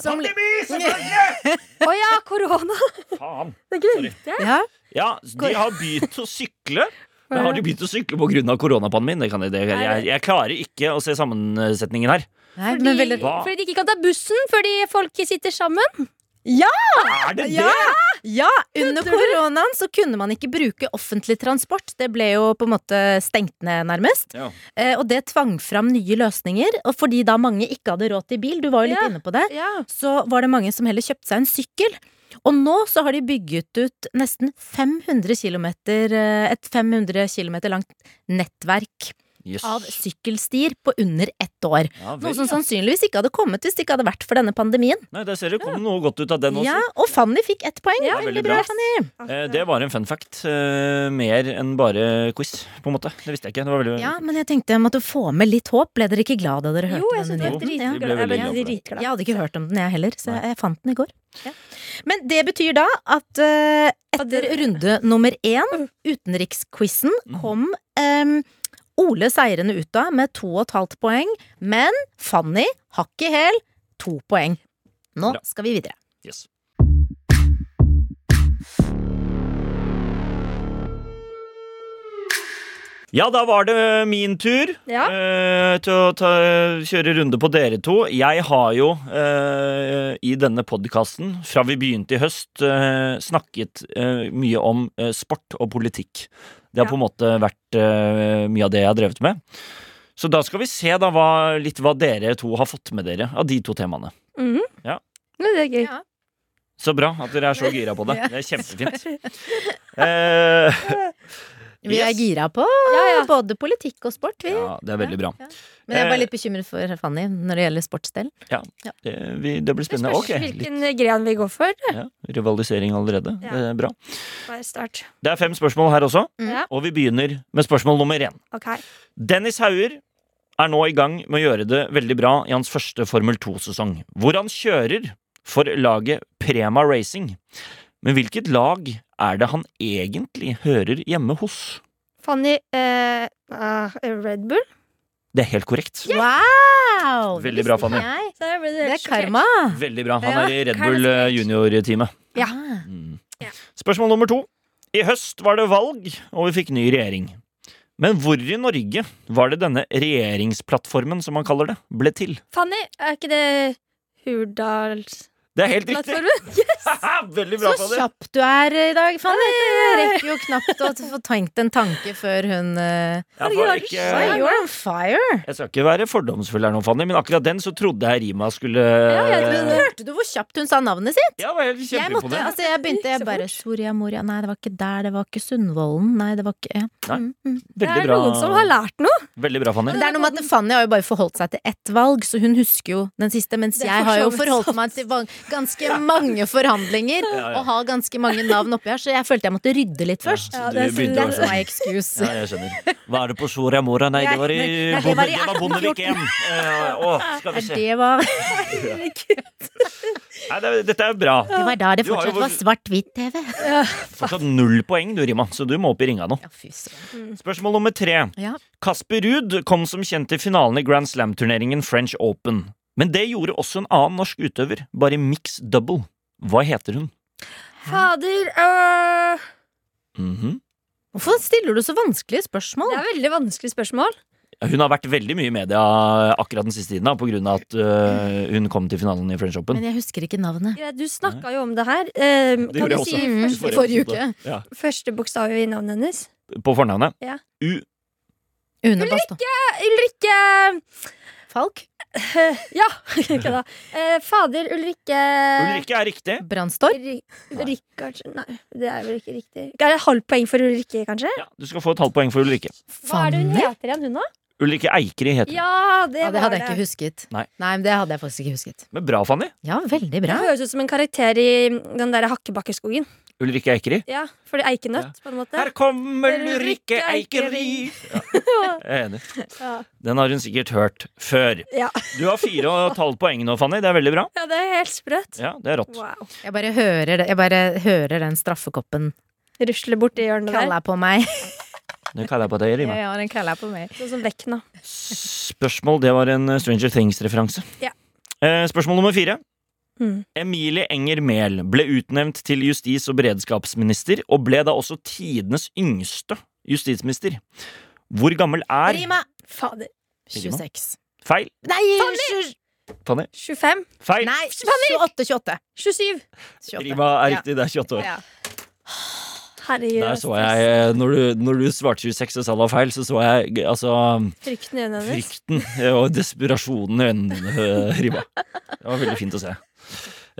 [SPEAKER 2] Som,
[SPEAKER 3] Å ja, korona!
[SPEAKER 1] Faen.
[SPEAKER 3] Det glemte jeg.
[SPEAKER 2] ja.
[SPEAKER 1] Ja, de har begynt å sykle. Men har de begynt å sykle pga. koronapandemien? Det kan jeg, det, jeg, jeg klarer ikke å se sammensetningen her.
[SPEAKER 2] Nei,
[SPEAKER 3] Fordi,
[SPEAKER 2] men vel,
[SPEAKER 1] Hva?
[SPEAKER 3] fordi de ikke kan ta bussen fordi folk sitter sammen.
[SPEAKER 1] Er det
[SPEAKER 2] Ah, Ja!
[SPEAKER 1] det?
[SPEAKER 2] Ja, under koronaen så kunne man ikke bruke offentlig transport. Det ble jo på en måte stengt ned, nærmest.
[SPEAKER 1] Ja.
[SPEAKER 2] Eh, Og det tvang fram nye løsninger. Og fordi da mange ikke hadde råd til bil, du var jo litt
[SPEAKER 3] Ja.
[SPEAKER 2] inne på det,
[SPEAKER 3] Ja.
[SPEAKER 2] så var det mange som heller kjøpte seg en sykkel. Og nå så har de bygget ut nesten 500 kilometer, eh, et 500 km langt nettverk
[SPEAKER 1] Yes.
[SPEAKER 2] av sykkelstier på under ett år.
[SPEAKER 1] Ja, vel,
[SPEAKER 2] Noe som
[SPEAKER 1] ja.
[SPEAKER 2] sannsynligvis ikke hadde kommet hvis det ikke hadde vært for denne pandemien.
[SPEAKER 1] Nei, der ser du, kom noe godt ut av den også.
[SPEAKER 2] Ja, og Fanny fikk ett poeng.
[SPEAKER 1] Ja, veldig
[SPEAKER 2] veldig
[SPEAKER 1] bra.
[SPEAKER 2] bra, Fanny.
[SPEAKER 1] Eh, det var en fun fact. Eh, mer enn bare quiz, på en måte. Det visste jeg ikke. Det var veldig
[SPEAKER 2] Ja, men jeg tenkte jeg måtte få med litt håp. Ble dere ikke glad da dere hørte
[SPEAKER 3] Jo, jeg
[SPEAKER 2] denne
[SPEAKER 3] synes det var
[SPEAKER 1] nyheten. Vi ble
[SPEAKER 2] nyheten?
[SPEAKER 3] dritglad.
[SPEAKER 1] veldig glad
[SPEAKER 3] Jeg ble
[SPEAKER 1] for det.
[SPEAKER 3] dritglad.
[SPEAKER 2] Jeg hadde ikke hørt om den, jeg heller, så jeg, jeg fant den i går. Ja. Men det betyr da at eh, etter runde nummer én,
[SPEAKER 1] Mm.
[SPEAKER 2] utenriksquizen,
[SPEAKER 1] Mhm.
[SPEAKER 2] kom em, Ole seirende ut av med to og et halvt poeng, men Fanny hakk i hæl to poeng. Nå
[SPEAKER 1] Bra.
[SPEAKER 2] skal vi videre.
[SPEAKER 1] Yes. Ja, da var det min tur
[SPEAKER 3] Ja.
[SPEAKER 1] eh, til å ta, kjøre runde på dere to. Jeg har jo eh, i denne podkasten fra vi begynte i høst, eh, snakket eh, mye om eh, sport og politikk. Det har
[SPEAKER 3] Ja.
[SPEAKER 1] på en måte vært eh, mye av det jeg har drevet med. Så da skal vi se da hva, litt hva dere to har fått med dere av de to temaene.
[SPEAKER 3] Mhm.
[SPEAKER 1] Ja.
[SPEAKER 3] Nei, det er gøy.
[SPEAKER 2] Ja.
[SPEAKER 1] Så bra at dere er så gira på det. Det er kjempefint. Eh,
[SPEAKER 2] Vi er
[SPEAKER 1] Yes.
[SPEAKER 2] gira på
[SPEAKER 3] Ja, ja.
[SPEAKER 2] både politikk og sport, vi.
[SPEAKER 1] ja, det er veldig bra.
[SPEAKER 2] Men jeg er
[SPEAKER 1] Eh.
[SPEAKER 2] bare litt bekymret for Fanny når det gjelder sportsdel.
[SPEAKER 1] Det, vi, det blir
[SPEAKER 3] Det
[SPEAKER 1] spennende.
[SPEAKER 3] spørs
[SPEAKER 1] Ok, litt
[SPEAKER 3] hvilken gren vi går for.
[SPEAKER 1] ja, rivalisering allerede.
[SPEAKER 3] Ja.
[SPEAKER 1] Det er bra.
[SPEAKER 3] Bare start.
[SPEAKER 1] Det er fem spørsmål her også,
[SPEAKER 2] Mm.
[SPEAKER 3] Ja.
[SPEAKER 1] og vi begynner med spørsmål nummer én.
[SPEAKER 3] Ok.
[SPEAKER 1] Dennis Hauger er nå i gang med å gjøre det veldig bra i hans første Formel 2-sesong, hvor han kjører for laget Prema Racing. Men hvilket lag er det han egentlig hører hjemme hos?
[SPEAKER 3] Fanny eh, ah, Red Bull.
[SPEAKER 1] Det er helt korrekt.
[SPEAKER 2] Wow!
[SPEAKER 1] Veldig
[SPEAKER 2] Det
[SPEAKER 1] bra,
[SPEAKER 2] visste
[SPEAKER 1] Fanny.
[SPEAKER 2] ikke jeg.
[SPEAKER 3] Så jeg ble
[SPEAKER 2] Det er
[SPEAKER 3] helt sjokkert.
[SPEAKER 2] karma.
[SPEAKER 1] Veldig bra. Han
[SPEAKER 2] Ja,
[SPEAKER 1] er i Red
[SPEAKER 3] hva er det
[SPEAKER 1] Bull
[SPEAKER 3] som
[SPEAKER 1] eh,
[SPEAKER 3] er?
[SPEAKER 1] junior-teamet.
[SPEAKER 3] Ja.
[SPEAKER 2] Ah.
[SPEAKER 1] Mm.
[SPEAKER 3] Ja.
[SPEAKER 1] Spørsmål nummer to. I høst var det valg, og vi fikk ny regjering. Men hvor i Norge var det denne regjeringsplattformen, som man kaller det, ble til?
[SPEAKER 3] Fanny, er ikke det Hurdalsplattformen?
[SPEAKER 1] Det er helt riktig! Veldig bra,
[SPEAKER 2] Så
[SPEAKER 1] Fanny.
[SPEAKER 2] kjapp du er i dag, Fanny. Jeg rekker jo knapt å få tenkt en tanke før hun eh,
[SPEAKER 1] Jeg,
[SPEAKER 3] Herregud,
[SPEAKER 1] var
[SPEAKER 3] er du
[SPEAKER 1] ikke,
[SPEAKER 2] Oi, You're on fire!
[SPEAKER 1] jeg skal ikke være fordomsfull her nå, Fanny, men akkurat den så trodde jeg rima skulle
[SPEAKER 2] Hørte du hvor kjapt hun sa navnet sitt?
[SPEAKER 1] Jeg var helt
[SPEAKER 2] Jeg måtte,
[SPEAKER 1] kjempeimponert.
[SPEAKER 2] altså jeg begynte jeg bare Soria Moria Nei, det var ikke der. Det var ikke Sundvolden. Nei, det var ikke ja.
[SPEAKER 1] Nei.
[SPEAKER 2] Mm, mm.
[SPEAKER 3] Det
[SPEAKER 1] Veldig
[SPEAKER 3] er noen som
[SPEAKER 1] bra.
[SPEAKER 3] har lært noe.
[SPEAKER 1] Veldig bra, Fanny.
[SPEAKER 2] Men det er noe med at Fanny har jo bare forholdt seg til ett valg, så hun husker jo den siste. Mens
[SPEAKER 3] Det er
[SPEAKER 2] jeg
[SPEAKER 3] for
[SPEAKER 2] har
[SPEAKER 3] så
[SPEAKER 2] jo
[SPEAKER 3] vidt
[SPEAKER 2] forholdt meg til van- ganske mange forhandlinger
[SPEAKER 1] Ja, ja.
[SPEAKER 2] og har ganske mange navn oppi her, så jeg følte jeg måtte rydde litt først.
[SPEAKER 1] Ja,
[SPEAKER 3] Ja,
[SPEAKER 1] så
[SPEAKER 3] det er
[SPEAKER 1] du
[SPEAKER 3] så-
[SPEAKER 1] begynte å være
[SPEAKER 2] That's
[SPEAKER 1] sånn.
[SPEAKER 2] my excuse.
[SPEAKER 1] Ja, jeg skjønner. Var det på Soria Moria? Nei, det var i,
[SPEAKER 2] Nei, det var i
[SPEAKER 1] Bonde- det var Bondevik 1. skal vi
[SPEAKER 2] Er
[SPEAKER 1] se.
[SPEAKER 2] det hva
[SPEAKER 1] Nei, det, er- dette er bra.
[SPEAKER 2] Det var da det
[SPEAKER 1] Du har jo
[SPEAKER 2] fortsatt var
[SPEAKER 1] vår-
[SPEAKER 2] svart-hvitt-TV.
[SPEAKER 1] Fortsatt null poeng, du, Rima, så du må opp i ringa nå.
[SPEAKER 2] Ja, fy søren.
[SPEAKER 1] Spørsmål nummer tre.
[SPEAKER 2] Ja.
[SPEAKER 1] Kasper Ruud kom som kjent til finalen i Grand Slam-turneringen French Open. Men det gjorde også en annen norsk utøver, bare i mix double. Hva heter hun?
[SPEAKER 3] Fader øh,
[SPEAKER 1] Mhm.
[SPEAKER 2] Hvorfor stiller du så vanskelige
[SPEAKER 3] Det
[SPEAKER 2] spørsmål?
[SPEAKER 3] er veldig vanskelig spørsmål.
[SPEAKER 1] Hun har vært veldig mye i media akkurat den siste tiden da, på grunn av at øh, hun kom til finalen i French Open.
[SPEAKER 2] Men jeg husker ikke navnet.
[SPEAKER 3] Greit, Du snakka jo om det her. Eh,
[SPEAKER 1] Det
[SPEAKER 3] kan
[SPEAKER 1] gjorde
[SPEAKER 3] du
[SPEAKER 1] jeg
[SPEAKER 3] si
[SPEAKER 1] også.
[SPEAKER 2] Mm,
[SPEAKER 3] første,
[SPEAKER 2] forrige uke.
[SPEAKER 1] Ja.
[SPEAKER 3] første bokstav i navnet hennes?
[SPEAKER 1] På fornavnet.
[SPEAKER 3] Ja.
[SPEAKER 1] U.
[SPEAKER 2] Une Bastholm.
[SPEAKER 3] Eh, Ulrikke
[SPEAKER 2] Falk?
[SPEAKER 3] Ja, ikke da. Eh, fader Ulrikke
[SPEAKER 1] Ulrikke er riktig.
[SPEAKER 2] Brandstorp?
[SPEAKER 3] Ri-
[SPEAKER 1] Nei.
[SPEAKER 3] Rikardsen Nei, det er vel ikke riktig. Er det halvt poeng for Ulrikke, kanskje?
[SPEAKER 1] Ja, du skal få et halvt poeng for Ulrikke.
[SPEAKER 3] Hva er det hun
[SPEAKER 2] Fanny?
[SPEAKER 3] heter igjen, hun, da?
[SPEAKER 1] Ulrikke Eikeri heter hun.
[SPEAKER 3] Ja, det,
[SPEAKER 2] Ja, det
[SPEAKER 3] var
[SPEAKER 2] hadde jeg ikke husket.
[SPEAKER 1] Nei.
[SPEAKER 2] men det hadde jeg faktisk ikke husket.
[SPEAKER 1] Men bra, Fanny.
[SPEAKER 2] Ja, veldig bra.
[SPEAKER 3] Det høres ut som en karakter i den der Hakkebakkeskogen.
[SPEAKER 1] Ulrikke Eikeri.
[SPEAKER 3] Ja, For det er eikenøtt, på en måte.
[SPEAKER 1] Her kommer Ulrikke
[SPEAKER 3] Ulrikke
[SPEAKER 1] Eikeri!
[SPEAKER 3] Eikeri.
[SPEAKER 1] Ja, jeg er enig.
[SPEAKER 3] Ja.
[SPEAKER 1] Den har hun sikkert hørt før.
[SPEAKER 3] Ja.
[SPEAKER 1] Du har fire og et halvt poeng nå, Fanny. Det er veldig bra.
[SPEAKER 3] ja, det er helt sprøtt.
[SPEAKER 1] Ja, det er rått.
[SPEAKER 3] Wow.
[SPEAKER 2] Jeg bare hører, det. Jeg bare hører den straffekoppen
[SPEAKER 3] Rusler borti hjørnet der.
[SPEAKER 2] kralla på meg.
[SPEAKER 1] Det kaller jeg på deg, Rima.
[SPEAKER 2] Ja, den kralla på meg.
[SPEAKER 3] Sånn som Vekna.
[SPEAKER 1] Spørsmål, det var en eh, Stranger Things-referanse.
[SPEAKER 3] Ja.
[SPEAKER 1] Eh, Spørsmål nummer fire.
[SPEAKER 3] Mm.
[SPEAKER 1] Emilie Enger Mehl ble utnevnt til justis- og beredskapsminister, og ble da også tidenes yngste justisminister. Hvor gammel er
[SPEAKER 2] Rima!
[SPEAKER 3] Fader.
[SPEAKER 2] 26.
[SPEAKER 1] Feil.
[SPEAKER 2] Nei, sju-
[SPEAKER 1] Fanny.
[SPEAKER 3] 25?
[SPEAKER 1] Feil.
[SPEAKER 2] nei 28, 28.
[SPEAKER 3] 27?
[SPEAKER 2] 28.
[SPEAKER 1] Rima er riktig, det er 28 år.
[SPEAKER 2] Ja.
[SPEAKER 3] Herregud.
[SPEAKER 1] Der så jeg, eh, når du, når du svarte 26 og sa det var feil, så så jeg g- altså
[SPEAKER 3] Frykten i øynene hennes.
[SPEAKER 1] frykten eh, og desperasjonen i øynene dine, eh, Rima. Det var veldig fint å se.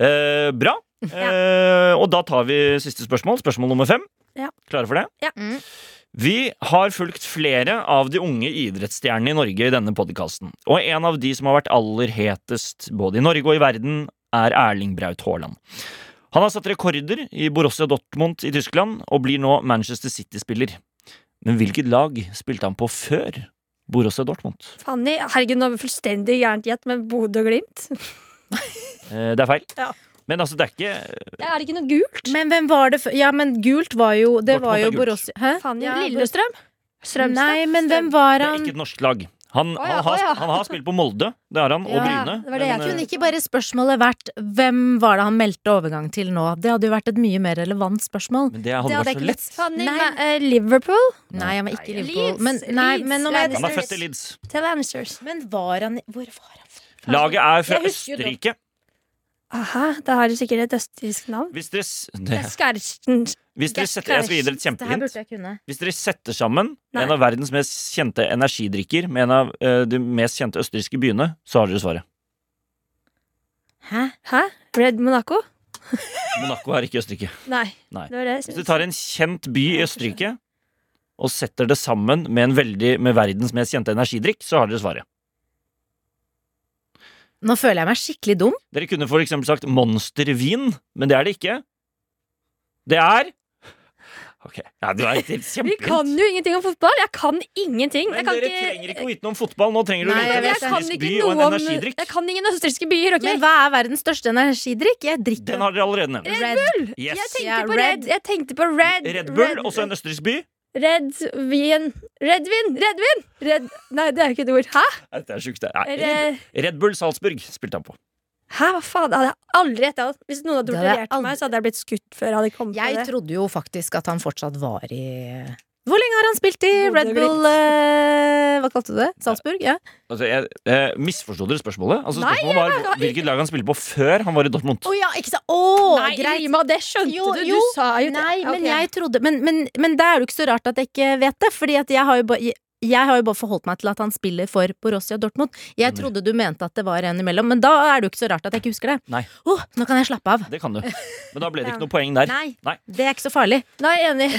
[SPEAKER 1] Eh, bra. Eh, og da tar vi siste spørsmål. Spørsmål nummer fem.
[SPEAKER 3] Ja.
[SPEAKER 1] Klare for det?
[SPEAKER 2] Mm.
[SPEAKER 1] Vi har fulgt flere av de unge idrettsstjernene i Norge i denne podkasten, og en av de som har vært aller hetest både i Norge og i verden, er Erling Braut Haaland. Han har satt rekorder i Borussia Dortmund i Tyskland og blir nå Manchester City-spiller. Men hvilket lag spilte han på før Borussia Dortmund?
[SPEAKER 3] Fanny, herregud, nå er vi fullstendig gærent gjett med Bodø og Glimt.
[SPEAKER 1] Eh, det er feil.
[SPEAKER 3] Ja.
[SPEAKER 1] Men altså, det er ikke
[SPEAKER 3] Er det ikke noe gult?
[SPEAKER 2] Men hvem var det før? Ja, men gult var jo Det
[SPEAKER 1] Dortmund
[SPEAKER 2] var
[SPEAKER 1] er
[SPEAKER 2] jo
[SPEAKER 1] gult.
[SPEAKER 2] Borussia Hæ?
[SPEAKER 3] Fanny
[SPEAKER 2] Ja,
[SPEAKER 3] Lillestrøm? Strømstad?
[SPEAKER 2] Nei, men hvem var
[SPEAKER 1] det er
[SPEAKER 2] han?
[SPEAKER 1] ikke et norsk lag. Han,
[SPEAKER 3] Å ja,
[SPEAKER 1] han, har,
[SPEAKER 3] å ja.
[SPEAKER 1] han har spilt på Molde, det har han, og
[SPEAKER 2] Ja,
[SPEAKER 1] Bryne.
[SPEAKER 3] det var det jeg
[SPEAKER 1] men, eh,
[SPEAKER 2] Kunne ikke bare spørsmålet vært hvem var det han meldte overgang til nå? Det hadde jo vært et mye mer relevant spørsmål.
[SPEAKER 1] men det hadde
[SPEAKER 2] hadde jeg
[SPEAKER 1] vært så
[SPEAKER 2] ikke
[SPEAKER 1] lett.
[SPEAKER 3] Fanny,
[SPEAKER 2] Nei.
[SPEAKER 3] nei.
[SPEAKER 1] eh,
[SPEAKER 3] Liverpool
[SPEAKER 2] Nei, han var ikke i
[SPEAKER 3] Nei,
[SPEAKER 2] Liverpool.
[SPEAKER 3] Leeds,
[SPEAKER 2] Men, nei,
[SPEAKER 3] Leeds,
[SPEAKER 2] men, om jeg,
[SPEAKER 1] Han er født i Leeds.
[SPEAKER 3] til Lannisters.
[SPEAKER 2] men var han i- Hvor var han?
[SPEAKER 1] Laget er fra
[SPEAKER 2] Jeg husker jo det.
[SPEAKER 1] Østerrike.
[SPEAKER 3] Aha, da har du sikkert et østerriksk navn. Mm,
[SPEAKER 1] Hvis dere, s- det,
[SPEAKER 3] Skarsten
[SPEAKER 1] hvis dere setter Jeg skal gi dere et
[SPEAKER 2] Det her
[SPEAKER 1] kjempehint.
[SPEAKER 2] burde jeg kunne.
[SPEAKER 1] Hvis dere setter sammen
[SPEAKER 3] Nei.
[SPEAKER 1] en av verdens mest kjente energidrikker med en av eh, de mest kjente østerrikske byene, så har dere svaret.
[SPEAKER 2] Hæ?
[SPEAKER 3] Hæ? Red Monaco?
[SPEAKER 1] Monaco er ikke Østerrike.
[SPEAKER 3] Nei.
[SPEAKER 1] Nei.
[SPEAKER 3] Det var det
[SPEAKER 1] Hvis
[SPEAKER 3] jeg
[SPEAKER 1] du
[SPEAKER 3] syntes.
[SPEAKER 1] tar en kjent by i Østerrike og setter det sammen med, en veldig, med verdens mest kjente energidrikk, så har dere svaret.
[SPEAKER 2] Nå føler jeg meg skikkelig dum.
[SPEAKER 1] Dere kunne for eksempel sagt monstervin, men det er det ikke. Det er Ok, ja, du er helt
[SPEAKER 3] Vi kan
[SPEAKER 1] kjempehint.
[SPEAKER 3] jo ingenting om fotball! Jeg kan ingenting!
[SPEAKER 1] Men
[SPEAKER 3] Jeg kan
[SPEAKER 1] dere trenger ikke å vite noe om fotball. Nå trenger du å
[SPEAKER 2] Nei,
[SPEAKER 1] vite
[SPEAKER 2] jeg
[SPEAKER 1] en
[SPEAKER 2] vet
[SPEAKER 3] Jeg kan
[SPEAKER 1] østerriksk by
[SPEAKER 3] ikke
[SPEAKER 1] og en
[SPEAKER 3] noe om
[SPEAKER 1] energidrikk.
[SPEAKER 3] Jeg kan ingen østerrikske byer, OK?
[SPEAKER 2] Men hva er verdens største energidrikk? Jeg drikker
[SPEAKER 1] Den har dere allerede nevnt.
[SPEAKER 2] Red Bull.
[SPEAKER 1] Yes.
[SPEAKER 3] Jeg tenkte
[SPEAKER 2] Ja,
[SPEAKER 3] på
[SPEAKER 2] Red.
[SPEAKER 3] Red. Jeg tenkte på Red.
[SPEAKER 1] Red Bull, også en østerriksk by.
[SPEAKER 3] Red vin. Redvin! Redvin! Red... Nei, det er jo ikke et ord. Hæ?
[SPEAKER 1] Nei, Det er sjukt, det. Nei, Red-
[SPEAKER 3] Red...
[SPEAKER 1] Red Bull Salzburg spilte han på.
[SPEAKER 3] Hæ, hva faen? Det hadde jeg aldri gjetta. Hvis noen hadde
[SPEAKER 2] Det hadde jeg
[SPEAKER 3] torturert meg, så hadde jeg blitt skutt før jeg hadde kommet
[SPEAKER 2] Jeg
[SPEAKER 3] på det.
[SPEAKER 2] trodde jo faktisk at han fortsatt var i Hvor lenge har han spilt i
[SPEAKER 3] Bodø
[SPEAKER 2] Red
[SPEAKER 3] Glimt.
[SPEAKER 2] Bull eh, Hva kalte du det? Salzburg? Ja.
[SPEAKER 1] Altså, jeg eh, Misforsto dere spørsmålet? Altså,
[SPEAKER 3] Nei,
[SPEAKER 1] spørsmålet var hvilket lag han spilte på før han var i Dortmund.
[SPEAKER 2] Å ja, ikke sant? Å,
[SPEAKER 3] Nei,
[SPEAKER 2] greit!
[SPEAKER 3] Rima, det skjønte
[SPEAKER 2] Jo,
[SPEAKER 3] du! Du
[SPEAKER 2] jo.
[SPEAKER 3] sa jo det.
[SPEAKER 2] Nei, men
[SPEAKER 3] Ok.
[SPEAKER 2] jeg trodde Men, men, men da er det jo ikke så rart at jeg ikke vet det, Fordi at jeg har jo bare jeg har jo bare forholdt meg til at han spiller for Borussia Dortmund. Jeg
[SPEAKER 1] Stemmer.
[SPEAKER 2] trodde du mente at det var en imellom, men da er det jo ikke så rart at jeg ikke husker det.
[SPEAKER 1] Nei.
[SPEAKER 2] Åh, nå kan jeg slappe av.
[SPEAKER 1] Det kan du. Men da ble det ikke
[SPEAKER 3] Ja.
[SPEAKER 1] noe poeng der.
[SPEAKER 2] Nei,
[SPEAKER 1] Nei.
[SPEAKER 2] det er ikke så farlig.
[SPEAKER 3] Nei, jeg er enig.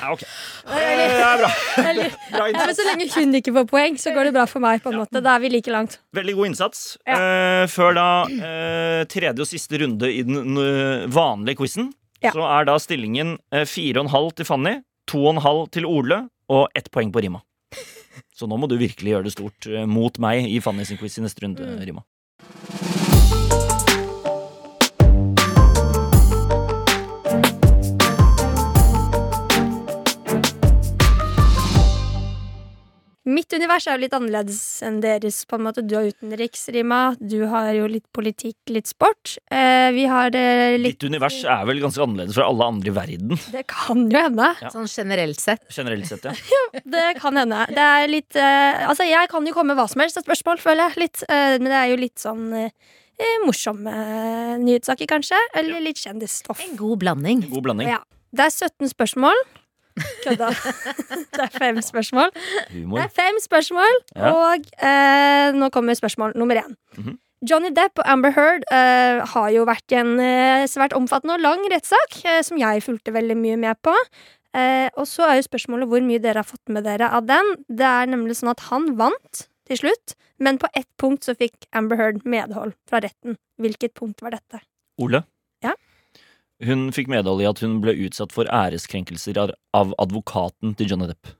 [SPEAKER 1] Ja, ok. Eh, Det er bra.
[SPEAKER 3] Eller,
[SPEAKER 1] bra
[SPEAKER 3] ja, men
[SPEAKER 1] innsats.
[SPEAKER 3] så lenge hun ikke får poeng, så går det bra for meg. på en måte Da er vi like langt.
[SPEAKER 1] Veldig god innsats. Eh, før da eh, tredje og siste runde i den n- vanlige quizen,
[SPEAKER 3] Ja.
[SPEAKER 1] så er da stillingen eh, fire og en halv til Fanny, to og en halv til Ole og ett poeng på Rima. Så nå må du virkelig gjøre det stort eh, mot meg i Fanny sin quiz i neste runde,
[SPEAKER 3] Mm.
[SPEAKER 1] Rima.
[SPEAKER 3] Mitt univers er jo litt annerledes enn deres. på en måte. Du har utenriksrima, du har jo litt politikk, litt sport. Eh, vi har eh, litt
[SPEAKER 1] Ditt univers er vel ganske annerledes fra alle andre i verden,
[SPEAKER 3] Det kan jo hende.
[SPEAKER 1] Ja.
[SPEAKER 2] Sånn generelt sett.
[SPEAKER 1] generelt sett. ja
[SPEAKER 3] Det kan hende. Det er litt eh, Altså, jeg kan jo komme med hva som helst av spørsmål, føler jeg. Litt, eh, men det er jo litt sånn eh, eh, morsomme nyhetssaker, kanskje. Eller litt kjendisstoff.
[SPEAKER 2] En god blanding.
[SPEAKER 1] God blanding.
[SPEAKER 3] Ja. Det er 17 spørsmål. Kødda. Det er fem spørsmål. Det
[SPEAKER 1] Humor.
[SPEAKER 3] er fem spørsmål,
[SPEAKER 1] Ja.
[SPEAKER 3] og eh, nå kommer spørsmål nummer én.
[SPEAKER 1] Mhm.
[SPEAKER 3] Johnny Depp og Amber Heard eh, har jo vært i en eh, svært omfattende og lang rettssak, eh, som jeg fulgte veldig mye med på. Eh, og så er jo spørsmålet hvor mye dere har fått med dere av den. Det er nemlig sånn at han vant til slutt, men på ett punkt så fikk Amber Heard medhold fra retten. Hvilket punkt var dette?
[SPEAKER 1] Ole.
[SPEAKER 3] Ja.
[SPEAKER 1] Hun fikk medhold i at hun ble utsatt for æreskrenkelser av- av advokaten til Johnny Depp.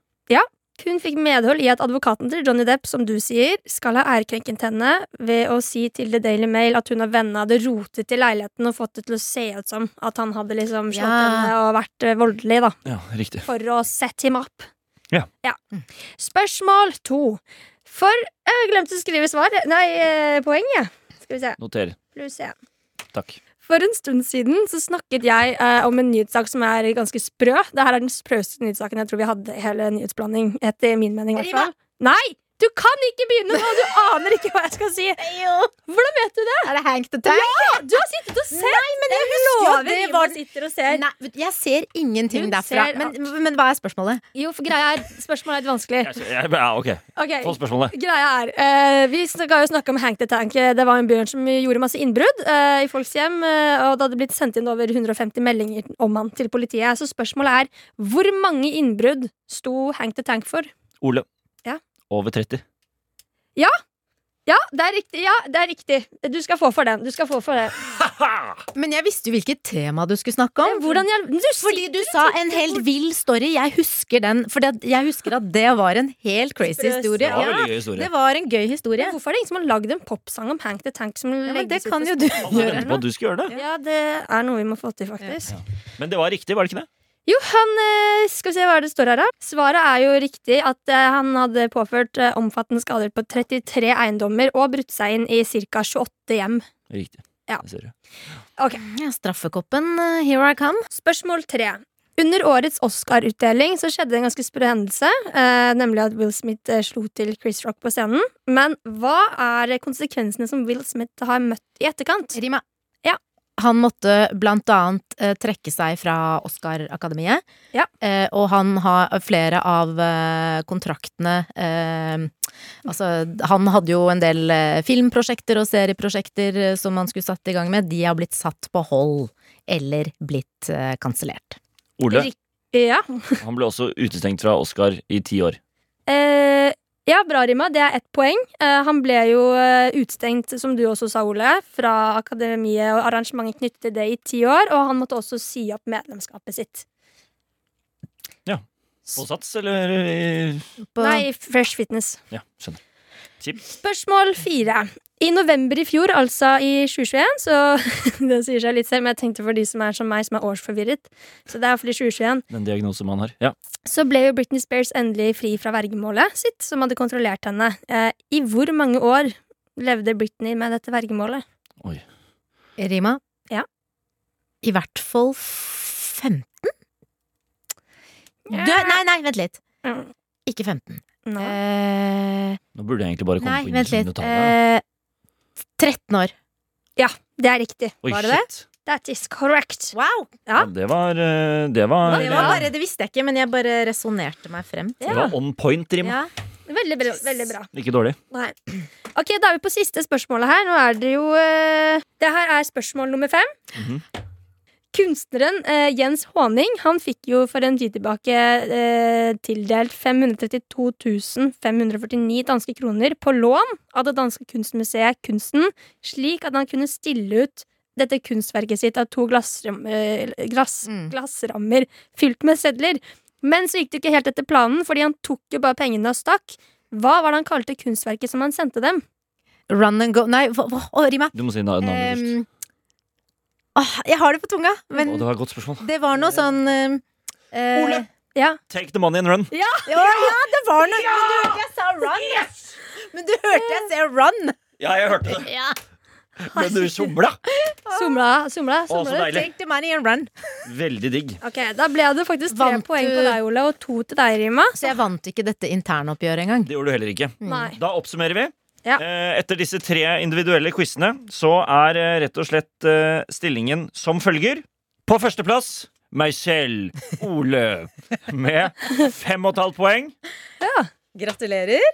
[SPEAKER 3] Hun fikk medhold i at advokaten til Johnny Depp, som du sier, skal ha ærekrenket henne ved å si til The Daily Mail at hun og vennene hadde rotet i leiligheten og fått det til å se ut som at han hadde liksom slått
[SPEAKER 2] Ja.
[SPEAKER 3] henne og vært eh, voldelig, da,
[SPEAKER 1] Ja, riktig.
[SPEAKER 3] for å sette him up.
[SPEAKER 1] Ja.
[SPEAKER 3] Spørsmål to. For Jeg glemte å skrive svar. Nei, eh, poeng, jeg. Skal vi se.
[SPEAKER 1] Noter.
[SPEAKER 3] Pluss én.
[SPEAKER 1] Takk.
[SPEAKER 3] For en stund siden så snakket jeg eh, om en nyhetssak som er ganske sprø. Dette er den sprøeste nyhetssaken jeg tror vi hadde i hele nyhetsblanding. Etter min mening, i hvert fall. Nei! Du kan ikke begynne nå! Du aner ikke hva jeg skal si! Hvordan vet du det?
[SPEAKER 2] Er det Hank the Tank?
[SPEAKER 3] Du har sittet og sett! Nei, men jeg
[SPEAKER 2] husker jo at det var-
[SPEAKER 3] sitter og ser.
[SPEAKER 2] Nei, vet du, jeg ser ingenting
[SPEAKER 3] Hun
[SPEAKER 2] derfra.
[SPEAKER 3] ser
[SPEAKER 2] Men, men hva er spørsmålet?
[SPEAKER 3] Jo, for greia er Spørsmålet er litt vanskelig.
[SPEAKER 1] Jeg- jeg- Ja, ok.
[SPEAKER 3] Ok,
[SPEAKER 1] Få spørsmålet.
[SPEAKER 3] Greia er, eh, Vi skal jo snakke om Hank the Tank. Det var en bjørn som gjorde masse innbrudd eh, i folks hjem. eh, og det hadde blitt sendt inn over 150 meldinger om han til politiet. Så spørsmålet er hvor mange innbrudd sto Hank the Tank for?
[SPEAKER 1] Ole.
[SPEAKER 3] Ja.
[SPEAKER 1] Over 30.
[SPEAKER 3] Ja, det er riktig! ja, det er riktig Du skal få for den. du skal få for det
[SPEAKER 2] Men jeg visste jo hvilket tema du skulle snakke om.
[SPEAKER 3] Hvordan i all- du
[SPEAKER 2] Fordi du sa en helt vill story. Jeg husker den. For jeg husker at det var en helt crazy
[SPEAKER 3] Sprø
[SPEAKER 2] historie.
[SPEAKER 1] Det var
[SPEAKER 2] Ja,
[SPEAKER 1] veldig gøy historie.
[SPEAKER 2] det var en gøy historie.
[SPEAKER 3] sier- Hvorfor er det ingen som har lagd en popsang om Hank the Tank? som
[SPEAKER 2] Ja, men det
[SPEAKER 3] legges ut
[SPEAKER 2] kan
[SPEAKER 3] på
[SPEAKER 2] jo du
[SPEAKER 1] Alle
[SPEAKER 2] gjøre.
[SPEAKER 1] venter på at du skal gjøre det.
[SPEAKER 3] Ja, det er noe vi må få til, faktisk.
[SPEAKER 1] Men det var riktig, var det ikke det?
[SPEAKER 3] Jo, han eh, Skal vi se hva det står her, da. Svaret er jo riktig at eh, han hadde påført eh, omfattende skader på 33 eiendommer og brutt seg inn i ca. 28 hjem.
[SPEAKER 1] Riktig.
[SPEAKER 3] Ja.
[SPEAKER 1] Det ser du.
[SPEAKER 2] Ja, straffekoppen, uh, here I come.
[SPEAKER 3] Spørsmål tre. Under årets Oscar-utdeling så skjedde det en ganske sprø hendelse, eh, nemlig at Will Smith eh, slo til Chris Rock på scenen. Men hva er konsekvensene som Will Smith har møtt i etterkant?
[SPEAKER 2] Rima.
[SPEAKER 3] Ja.
[SPEAKER 2] Han måtte blant annet eh, trekke seg fra Oscar-akademiet.
[SPEAKER 3] Ja.
[SPEAKER 2] Eh, og han har flere av eh, kontraktene eh, Altså, han hadde jo en del eh, filmprosjekter og serieprosjekter eh, som han skulle satt i gang med. De har blitt satt på hold eller blitt eh, kansellert.
[SPEAKER 1] Ole
[SPEAKER 3] Ja,
[SPEAKER 1] han ble også utestengt fra Oscar i ti år.
[SPEAKER 3] Eh, ja, bra rima. Det er ett poeng. Eh, han ble jo eh, utstengt, som du også sa, Ole, fra akademiet og arrangementet knyttet til det i ti år, og han måtte også si opp medlemskapet sitt.
[SPEAKER 1] På Sats, eller eh,
[SPEAKER 2] På,
[SPEAKER 3] Nei, Fresh Fitness.
[SPEAKER 1] Ja, skjønner.
[SPEAKER 3] Spørsmål fire. I november i fjor, altså i 2021, så Det sier seg litt selv, men jeg tenkte for de som er som meg, som er årsforvirret. Så det er fordi 2021
[SPEAKER 1] Den diagnosen man har. Ja.
[SPEAKER 3] så ble jo Britney Spears endelig fri fra vergemålet sitt, som hadde kontrollert henne. Eh, I hvor mange år levde Britney med dette vergemålet?
[SPEAKER 1] Oi.
[SPEAKER 2] Rima?
[SPEAKER 3] Ja.
[SPEAKER 2] I hvert fall 15? Du,
[SPEAKER 3] Ja.
[SPEAKER 2] nei, nei, vent litt.
[SPEAKER 3] Mm.
[SPEAKER 2] Ikke 15.
[SPEAKER 3] Nå.
[SPEAKER 2] Eh,
[SPEAKER 1] Nå burde jeg egentlig bare komme
[SPEAKER 2] nei,
[SPEAKER 1] på
[SPEAKER 2] vent
[SPEAKER 1] innsiden
[SPEAKER 2] litt.
[SPEAKER 1] og ta det.
[SPEAKER 2] Eh, 13 år.
[SPEAKER 3] Det er riktig.
[SPEAKER 1] Oi,
[SPEAKER 2] var det
[SPEAKER 1] shit.
[SPEAKER 3] That is correct.
[SPEAKER 2] Wow!
[SPEAKER 3] Ja.
[SPEAKER 1] Ja, det var eh, Det var, eh,
[SPEAKER 2] Det, var bare, det visste jeg ikke, men jeg bare resonnerte meg frem. til.
[SPEAKER 1] det var on point, Rim.
[SPEAKER 2] Ja.
[SPEAKER 3] Veldig bra. Veldig bra.
[SPEAKER 1] Ikke dårlig.
[SPEAKER 3] Nei. Ok, Da er vi på siste spørsmålet her. Nå er det jo eh, Det her er spørsmål nummer fem.
[SPEAKER 1] Mhm.
[SPEAKER 3] Kunstneren eh, Jens Håning Han fikk jo for en tid tilbake eh, tildelt 532 549 danske kroner på lån av det danske kunstmuseet Kunsten, slik at han kunne stille ut dette kunstverket sitt av to glassram, eh, glass,
[SPEAKER 2] Mm.
[SPEAKER 3] glassrammer fylt med sedler. Men så gikk det ikke helt etter planen, fordi han tok jo bare pengene og stakk. Hva var det han kalte kunstverket som han sendte dem?
[SPEAKER 2] Run and go Nei, hva, hva, å, Rima.
[SPEAKER 1] Du må si na- navnet først.
[SPEAKER 2] Ehm, åh, jeg har det på tunga, men
[SPEAKER 1] Å, det var et godt spørsmål.
[SPEAKER 2] det var noe sånn eh, eh,
[SPEAKER 1] Ole.
[SPEAKER 3] Ja.
[SPEAKER 1] Take the money and run.
[SPEAKER 2] Ja, ja, det var noe Men du hørte jeg sa run! Men du hørte jeg sa run!
[SPEAKER 1] Ja, jeg hørte det.
[SPEAKER 2] Ja.
[SPEAKER 1] Men du somla.
[SPEAKER 3] Somla, somla,
[SPEAKER 1] Å, så
[SPEAKER 3] somla.
[SPEAKER 1] deilig.
[SPEAKER 2] Take the money and run.
[SPEAKER 1] Veldig digg.
[SPEAKER 3] Ok, Da ble det faktisk tre
[SPEAKER 2] Vant
[SPEAKER 3] poeng
[SPEAKER 2] du-
[SPEAKER 3] på deg, Ole, og to til deg, Rima.
[SPEAKER 2] Så jeg vant ikke dette internoppgjøret engang.
[SPEAKER 1] Det gjorde du heller ikke.
[SPEAKER 3] Nei.
[SPEAKER 1] Da oppsummerer vi.
[SPEAKER 3] Ja.
[SPEAKER 1] Eh, Etter disse tre individuelle quizene så er eh, rett og slett eh, stillingen som følger. På førsteplass meg selv, Ole, med fem og et halvt poeng.
[SPEAKER 2] Gratulerer.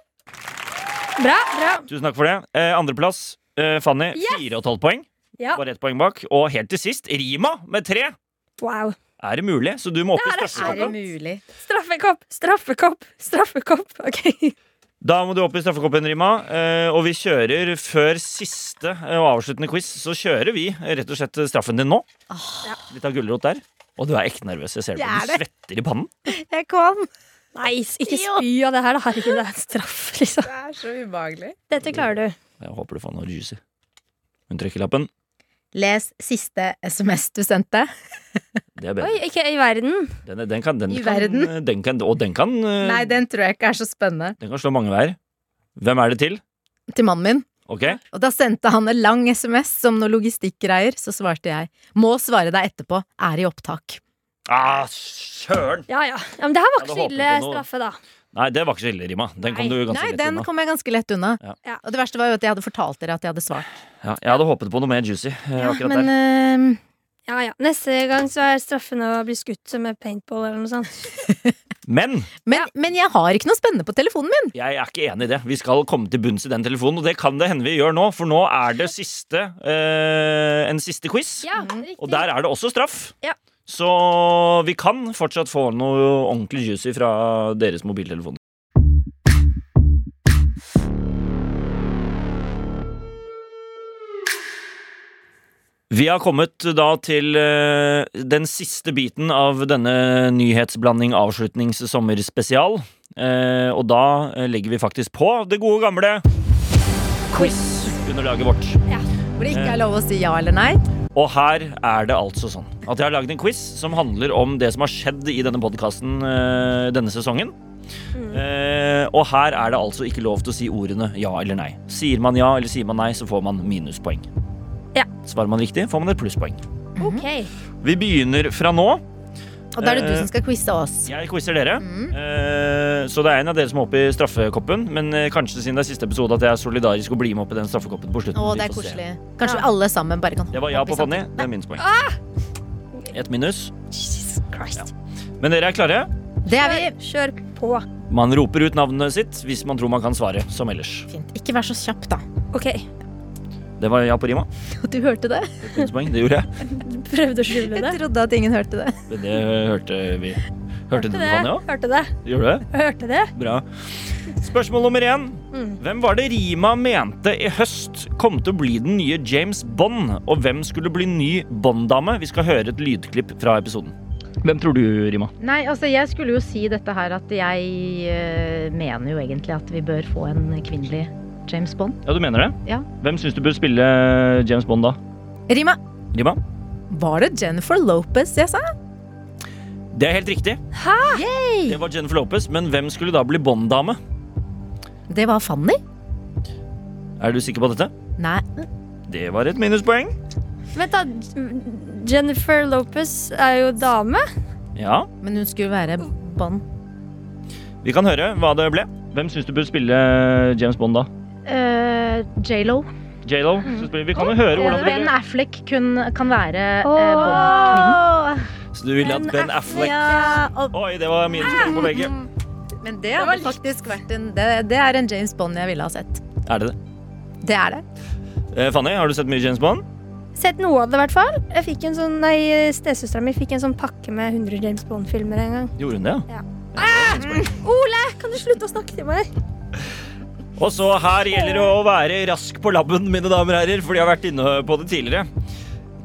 [SPEAKER 3] Bra, bra.
[SPEAKER 1] Tusen takk for det. Eh, Andreplass eh, Fanny, fire og et halvt poeng.
[SPEAKER 3] Ja.
[SPEAKER 1] Bare ett poeng bak. Og helt til sist Rima med tre.
[SPEAKER 3] Wow.
[SPEAKER 1] Er det mulig? Så du må opp i
[SPEAKER 2] Er det
[SPEAKER 1] straffekoppen.
[SPEAKER 2] mulig?
[SPEAKER 3] Straffekopp, straffekopp, straffekopp. Ok.
[SPEAKER 1] Da må du opp i straffekoppen, Rima. Eh, og vi kjører før siste eh, og avsluttende quiz, så kjører vi eh, rett og slett straffen din nå. Litt av gulrot der. Og du er ekte nervøs. Jeg ser det.
[SPEAKER 2] Jeg
[SPEAKER 1] på
[SPEAKER 2] Ah. er
[SPEAKER 1] deg. Du svetter i pannen.
[SPEAKER 2] Jeg kom.
[SPEAKER 3] Nei, s- ikke
[SPEAKER 2] Jo.
[SPEAKER 3] spy av det her. da. Herregud, det er en straff, liksom.
[SPEAKER 2] Det er så ubehagelig.
[SPEAKER 3] Dette klarer du.
[SPEAKER 1] Jeg håper du får noe juicy. Hun trekker lappen.
[SPEAKER 2] Les siste SMS du sendte.
[SPEAKER 1] Det er
[SPEAKER 3] Oi,
[SPEAKER 1] bedre.
[SPEAKER 3] ikke i verden.
[SPEAKER 1] Den, er- den kan, den
[SPEAKER 2] I
[SPEAKER 1] kan,
[SPEAKER 2] verden.
[SPEAKER 1] Den kan, og den kan, eh,
[SPEAKER 2] Nei, den tror jeg ikke er så spennende.
[SPEAKER 1] den kan slå mange veier. Hvem er det til?
[SPEAKER 2] Til mannen min.
[SPEAKER 1] Ok,
[SPEAKER 2] Og da sendte han en lang SMS som noe logistikkgreier. Så svarte jeg. Må svare deg etterpå. Er i opptak.
[SPEAKER 1] Ah, søren!
[SPEAKER 3] Ja, ja. ja men det her
[SPEAKER 1] Ja,
[SPEAKER 3] var ikke
[SPEAKER 1] da
[SPEAKER 3] så
[SPEAKER 1] håper
[SPEAKER 3] ille
[SPEAKER 1] vi på noe.
[SPEAKER 3] straffe, da.
[SPEAKER 1] Nei, det var ikke så ille, Rima. Den kom
[SPEAKER 3] Nei.
[SPEAKER 1] du ganske
[SPEAKER 2] Nei,
[SPEAKER 1] lett
[SPEAKER 2] den
[SPEAKER 1] unna.
[SPEAKER 2] kom jeg ganske lett unna.
[SPEAKER 1] Ja.
[SPEAKER 3] Ja.
[SPEAKER 2] Og det verste var jo at jeg hadde fortalt dere at jeg hadde svart.
[SPEAKER 1] Ja, jeg hadde håpet på noe mer juicy. eh,
[SPEAKER 2] Ja,
[SPEAKER 1] akkurat
[SPEAKER 2] men
[SPEAKER 1] der.
[SPEAKER 2] eh,
[SPEAKER 3] Ja, ja. Neste gang så er straffen å bli skutt med paintball eller noe sånt.
[SPEAKER 1] Men
[SPEAKER 2] Men, men jeg har ikke noe spennende på telefonen min!
[SPEAKER 1] Jeg er ikke enig i det. Vi skal komme til bunns i den telefonen. Og det kan det hende vi gjør nå, for nå er det siste eh, en siste quiz.
[SPEAKER 3] Ja,
[SPEAKER 2] Mm.
[SPEAKER 3] riktig.
[SPEAKER 1] Og der er det også straff.
[SPEAKER 3] Ja.
[SPEAKER 1] Så vi kan fortsatt få noe ordentlig juicy fra deres mobiltelefon. Vi har kommet da til eh, den siste biten av denne nyhetsblanding avslutnings-sommerspesial. Eh, og da eh, legger vi faktisk på det gode gamle quiz under laget vårt.
[SPEAKER 2] Hvor det
[SPEAKER 1] Eh.
[SPEAKER 2] ikke er lov å si ja eller nei.
[SPEAKER 1] Og her er det altså sånn at jeg har laget en quiz som handler om det som har skjedd i denne podkasten denne sesongen.
[SPEAKER 2] Mm.
[SPEAKER 1] Eh, og her er det altså ikke lov til å si ordene ja eller nei. Sier man ja eller sier man nei, så får man minuspoeng.
[SPEAKER 3] Ja.
[SPEAKER 1] Svarer man riktig, får man et plusspoeng.
[SPEAKER 3] Ok.
[SPEAKER 1] Vi begynner fra nå.
[SPEAKER 2] Og da er det du
[SPEAKER 1] Eh.
[SPEAKER 2] som skal quize oss.
[SPEAKER 1] Jeg quizer dere.
[SPEAKER 2] Mm.
[SPEAKER 1] Eh, så det er en av dere som er oppe i straffekoppen. Men eh, kanskje siden det er siste episode at jeg er solidarisk og blir med opp i den straffekoppen på slutten.
[SPEAKER 2] Å,
[SPEAKER 1] Vi
[SPEAKER 2] det er
[SPEAKER 1] får se.
[SPEAKER 2] koselig. Kanskje vi alle sammen bare kan
[SPEAKER 1] Det var ja
[SPEAKER 2] hoppe
[SPEAKER 1] på
[SPEAKER 2] i Ah! sammen.
[SPEAKER 1] Fanny. Det er minuspoeng. Ett minus.
[SPEAKER 3] Jesus Christ.
[SPEAKER 1] Men dere er klare?
[SPEAKER 2] Det er vi.
[SPEAKER 3] Kjør, kjør på.
[SPEAKER 1] Man roper ut navnet sitt hvis man tror man kan svare, som ellers.
[SPEAKER 2] Fint. Ikke vær så kjapp, da.
[SPEAKER 3] Ok.
[SPEAKER 1] Det var ja på rima.
[SPEAKER 2] Du hørte det?
[SPEAKER 1] Et minuspoeng, det gjorde jeg.
[SPEAKER 3] Prøvde å skjule det.
[SPEAKER 2] Jeg trodde at ingen hørte det.
[SPEAKER 1] Men det hørte vi. Hørte du
[SPEAKER 3] Hørte
[SPEAKER 1] det,
[SPEAKER 3] det.
[SPEAKER 1] Vanja?
[SPEAKER 3] Hørte det.
[SPEAKER 1] Gjorde du det?
[SPEAKER 3] Hørte det.
[SPEAKER 1] Bra. Spørsmål nummer én.
[SPEAKER 3] Mm.
[SPEAKER 1] Hvem var det Rima mente i høst kom til å bli den nye James Bond? Og hvem skulle bli ny Bond-dame? Vi skal høre et lydklipp fra episoden. Hvem tror du, Rima?
[SPEAKER 2] Nei, altså jeg skulle jo si dette her at jeg eh, mener jo egentlig at vi bør få en kvinnelig James Bond.
[SPEAKER 1] Ja, du mener det?
[SPEAKER 2] Ja.
[SPEAKER 1] Hvem syns du bør spille eh, James Bond da?
[SPEAKER 2] Rima,
[SPEAKER 1] Rima?
[SPEAKER 2] var det Jennifer Lopez jeg sa?
[SPEAKER 1] Det er helt riktig. Det var Jennifer Lopez, men hvem skulle da bli Bond-dame?
[SPEAKER 2] Det var Fanny?
[SPEAKER 1] Er du sikker på dette?
[SPEAKER 2] Nei.
[SPEAKER 1] Det var et minuspoeng.
[SPEAKER 3] Vent, da. Jennifer Lopez er jo dame.
[SPEAKER 1] Ja,
[SPEAKER 2] Men hun skulle være Bond.
[SPEAKER 1] Vi kan høre hva det ble. Hvem syns du bør spille eh, James Bond da?
[SPEAKER 2] Eh,
[SPEAKER 4] J.Lo.
[SPEAKER 1] J.Lo? skal spille. Vi kan jo høre hvordan
[SPEAKER 4] Ben
[SPEAKER 1] det
[SPEAKER 4] Affleck kun, kan være eh, Bond-kvinnen.
[SPEAKER 2] Åh,
[SPEAKER 3] Eh,
[SPEAKER 1] Så du ville at Ben Affleck
[SPEAKER 2] ja, og,
[SPEAKER 1] Oi, det var minuspoeng på begge.
[SPEAKER 2] men det hadde faktisk vært en det, det er en James Bond jeg ville ha sett.
[SPEAKER 1] Er det det?
[SPEAKER 2] Det er det.
[SPEAKER 1] Eh, Fanny, har du sett mye James Bond?
[SPEAKER 3] Sett noe av det, i hvert fall. Jeg fikk en sånn, nei, Stesøstera mi fikk en sånn pakke med 100 James Bond-filmer en gang.
[SPEAKER 1] Gjorde hun det, ja?
[SPEAKER 3] Ja.
[SPEAKER 1] Ja, det var minuspoeng.
[SPEAKER 3] Ole, kan du slutte å snakke til meg?
[SPEAKER 1] Og så her gjelder det å være rask på labben, mine damer og herrer, for de har vært inne på det tidligere.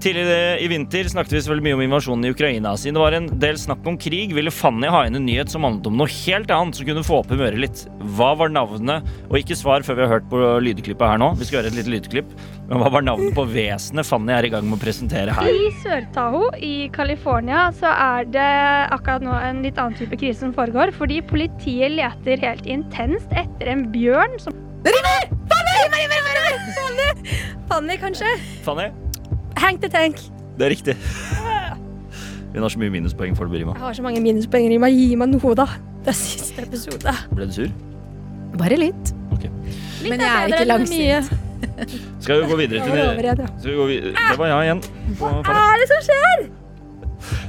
[SPEAKER 1] Tidligere i vinter snakket vi selvfølgelig mye om invasjonen i Ukraina. Siden det var en del snakk om krig, ville Fanny ha inn en nyhet som handlet om noe helt annet som kunne få opp humøret litt. Hva var navnet Og ikke svar før vi har hørt på lydklippet her nå. Vi skal høre et lite lydklipp. Men hva var navnet på vesenet Fanny er i gang med å presentere her?
[SPEAKER 3] I Sør-Taho i California så er det akkurat nå en litt annen type krise som foregår, fordi politiet leter helt intenst etter en bjørn som River! Fanny! Fanny! Fanny, kanskje?
[SPEAKER 1] Fanny?
[SPEAKER 3] Hank the Tank.
[SPEAKER 1] Det er riktig. Hun har så mye minuspoeng for det, Birima.
[SPEAKER 3] Jeg har så mange minuspoeng, Rima. Gi meg noe, da. Det er siste episode.
[SPEAKER 1] Ble du sur?
[SPEAKER 2] Bare litt. Men jeg er
[SPEAKER 3] bedre
[SPEAKER 2] ikke
[SPEAKER 3] enn mye.
[SPEAKER 2] langsint.
[SPEAKER 1] Skal vi gå videre
[SPEAKER 3] Jeg
[SPEAKER 1] til
[SPEAKER 3] går over igjen, ja.
[SPEAKER 1] Skal vi gå vid Det var jeg igjen. Hva er det som skjer?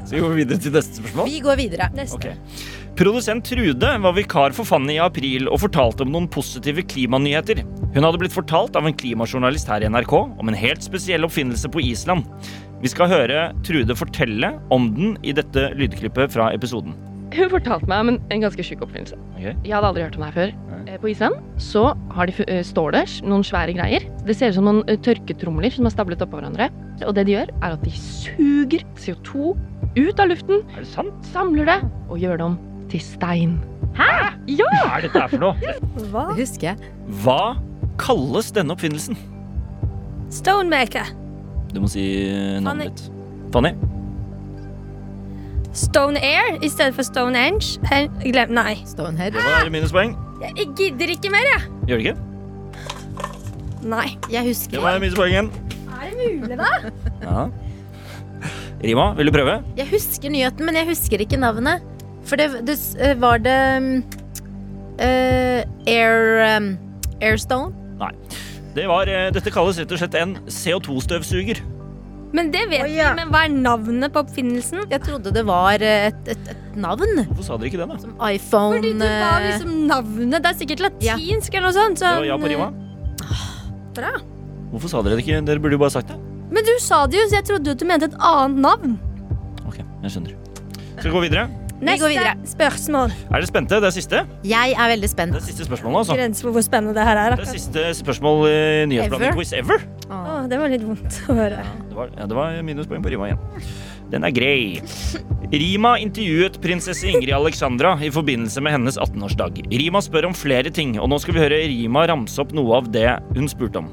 [SPEAKER 1] Skal vi gå videre til neste spørsmål?
[SPEAKER 2] Vi går videre.
[SPEAKER 3] Neste.
[SPEAKER 1] Ok. Produsent Trude var vikar for Fanny i april og fortalte om noen positive klimanyheter. Hun hadde blitt fortalt av en klimajournalist her i NRK om en helt spesiell oppfinnelse på Island. Vi skal høre Trude fortelle om den i dette lydklippet fra episoden.
[SPEAKER 5] Hun fortalte meg om en, en ganske sjuk oppfinnelse.
[SPEAKER 1] Ok.
[SPEAKER 5] Jeg hadde aldri hørt om det her før.
[SPEAKER 1] Nei.
[SPEAKER 5] Eh, På Island så har de, fu- eh, står det s- noen svære greier. Det ser ut som noen eh, tørketromler som er stablet oppå hverandre. Og det de gjør, er at de suger CO2 ut av luften,
[SPEAKER 1] Er det sant?
[SPEAKER 5] samler det og gjør det om til stein. Hæ? Ja!
[SPEAKER 1] Hva er dette her for noe?
[SPEAKER 3] Hva?
[SPEAKER 2] Det husker jeg.
[SPEAKER 1] Hva kalles denne oppfinnelsen?
[SPEAKER 3] Stonemaker.
[SPEAKER 1] Du må si
[SPEAKER 3] Fanny.
[SPEAKER 1] navnet ditt. Fanny?
[SPEAKER 3] Stone Air i stedet for Stone Enge. Hen- Glem Nei.
[SPEAKER 2] Stonehead.
[SPEAKER 1] Det var minuspoeng.
[SPEAKER 3] Jeg gidder ikke mer, jeg.
[SPEAKER 1] Gjør det ikke?
[SPEAKER 3] Nei.
[SPEAKER 2] Jeg husker,
[SPEAKER 1] Det var minuspoeng igjen.
[SPEAKER 3] Er det mulig, da?
[SPEAKER 1] Ja. Rima, vil du prøve?
[SPEAKER 2] jeg husker nyheten, men jeg husker ikke navnet. For det, det s- eh, var det mm, eh, Air um, Airstone.
[SPEAKER 1] Nei. Det var, eh, dette kalles rett og slett en CO2-støvsuger.
[SPEAKER 3] Men det vet
[SPEAKER 2] Å,
[SPEAKER 3] vi.
[SPEAKER 2] ja.
[SPEAKER 3] Men hva er navnet på oppfinnelsen?
[SPEAKER 2] Jeg trodde det var eh, et, et, et navn.
[SPEAKER 1] Hvorfor sa dere ikke det, da?
[SPEAKER 2] Som iPhone
[SPEAKER 3] Fordi du ba
[SPEAKER 2] eh,
[SPEAKER 3] liksom navnet. Det er sikkert
[SPEAKER 2] Ja.
[SPEAKER 3] latinsk eller noe sånt.
[SPEAKER 1] Det
[SPEAKER 3] sånn,
[SPEAKER 1] var ja på Rima.
[SPEAKER 3] Ah, Bra.
[SPEAKER 1] Hvorfor sa dere det ikke? Dere burde jo bare sagt det.
[SPEAKER 3] Men du sa det jo, så jeg trodde jo at du mente et annet navn.
[SPEAKER 1] Ok, jeg skjønner. Skal vi gå videre?
[SPEAKER 2] Vi går videre.
[SPEAKER 3] spørsmål.
[SPEAKER 1] Er det spente? Det er siste?
[SPEAKER 2] Jeg er veldig
[SPEAKER 1] Det
[SPEAKER 2] spent.
[SPEAKER 1] er siste spørsmål, altså.
[SPEAKER 3] Grenser for hvor spennende det her
[SPEAKER 1] Det er
[SPEAKER 3] er. akkurat.
[SPEAKER 1] siste spørsmål i Nyhetsblanding-quiz ever.
[SPEAKER 3] Å, det var litt vondt å høre.
[SPEAKER 1] Det var, ja, det var minuspoeng på Rima igjen. Den er grei. Rima intervjuet prinsesse Ingrid Alexandra i forbindelse med hennes 18-årsdag. Rima spør om flere ting, og nå skal vi høre Rima ramse opp noe av det hun spurte om.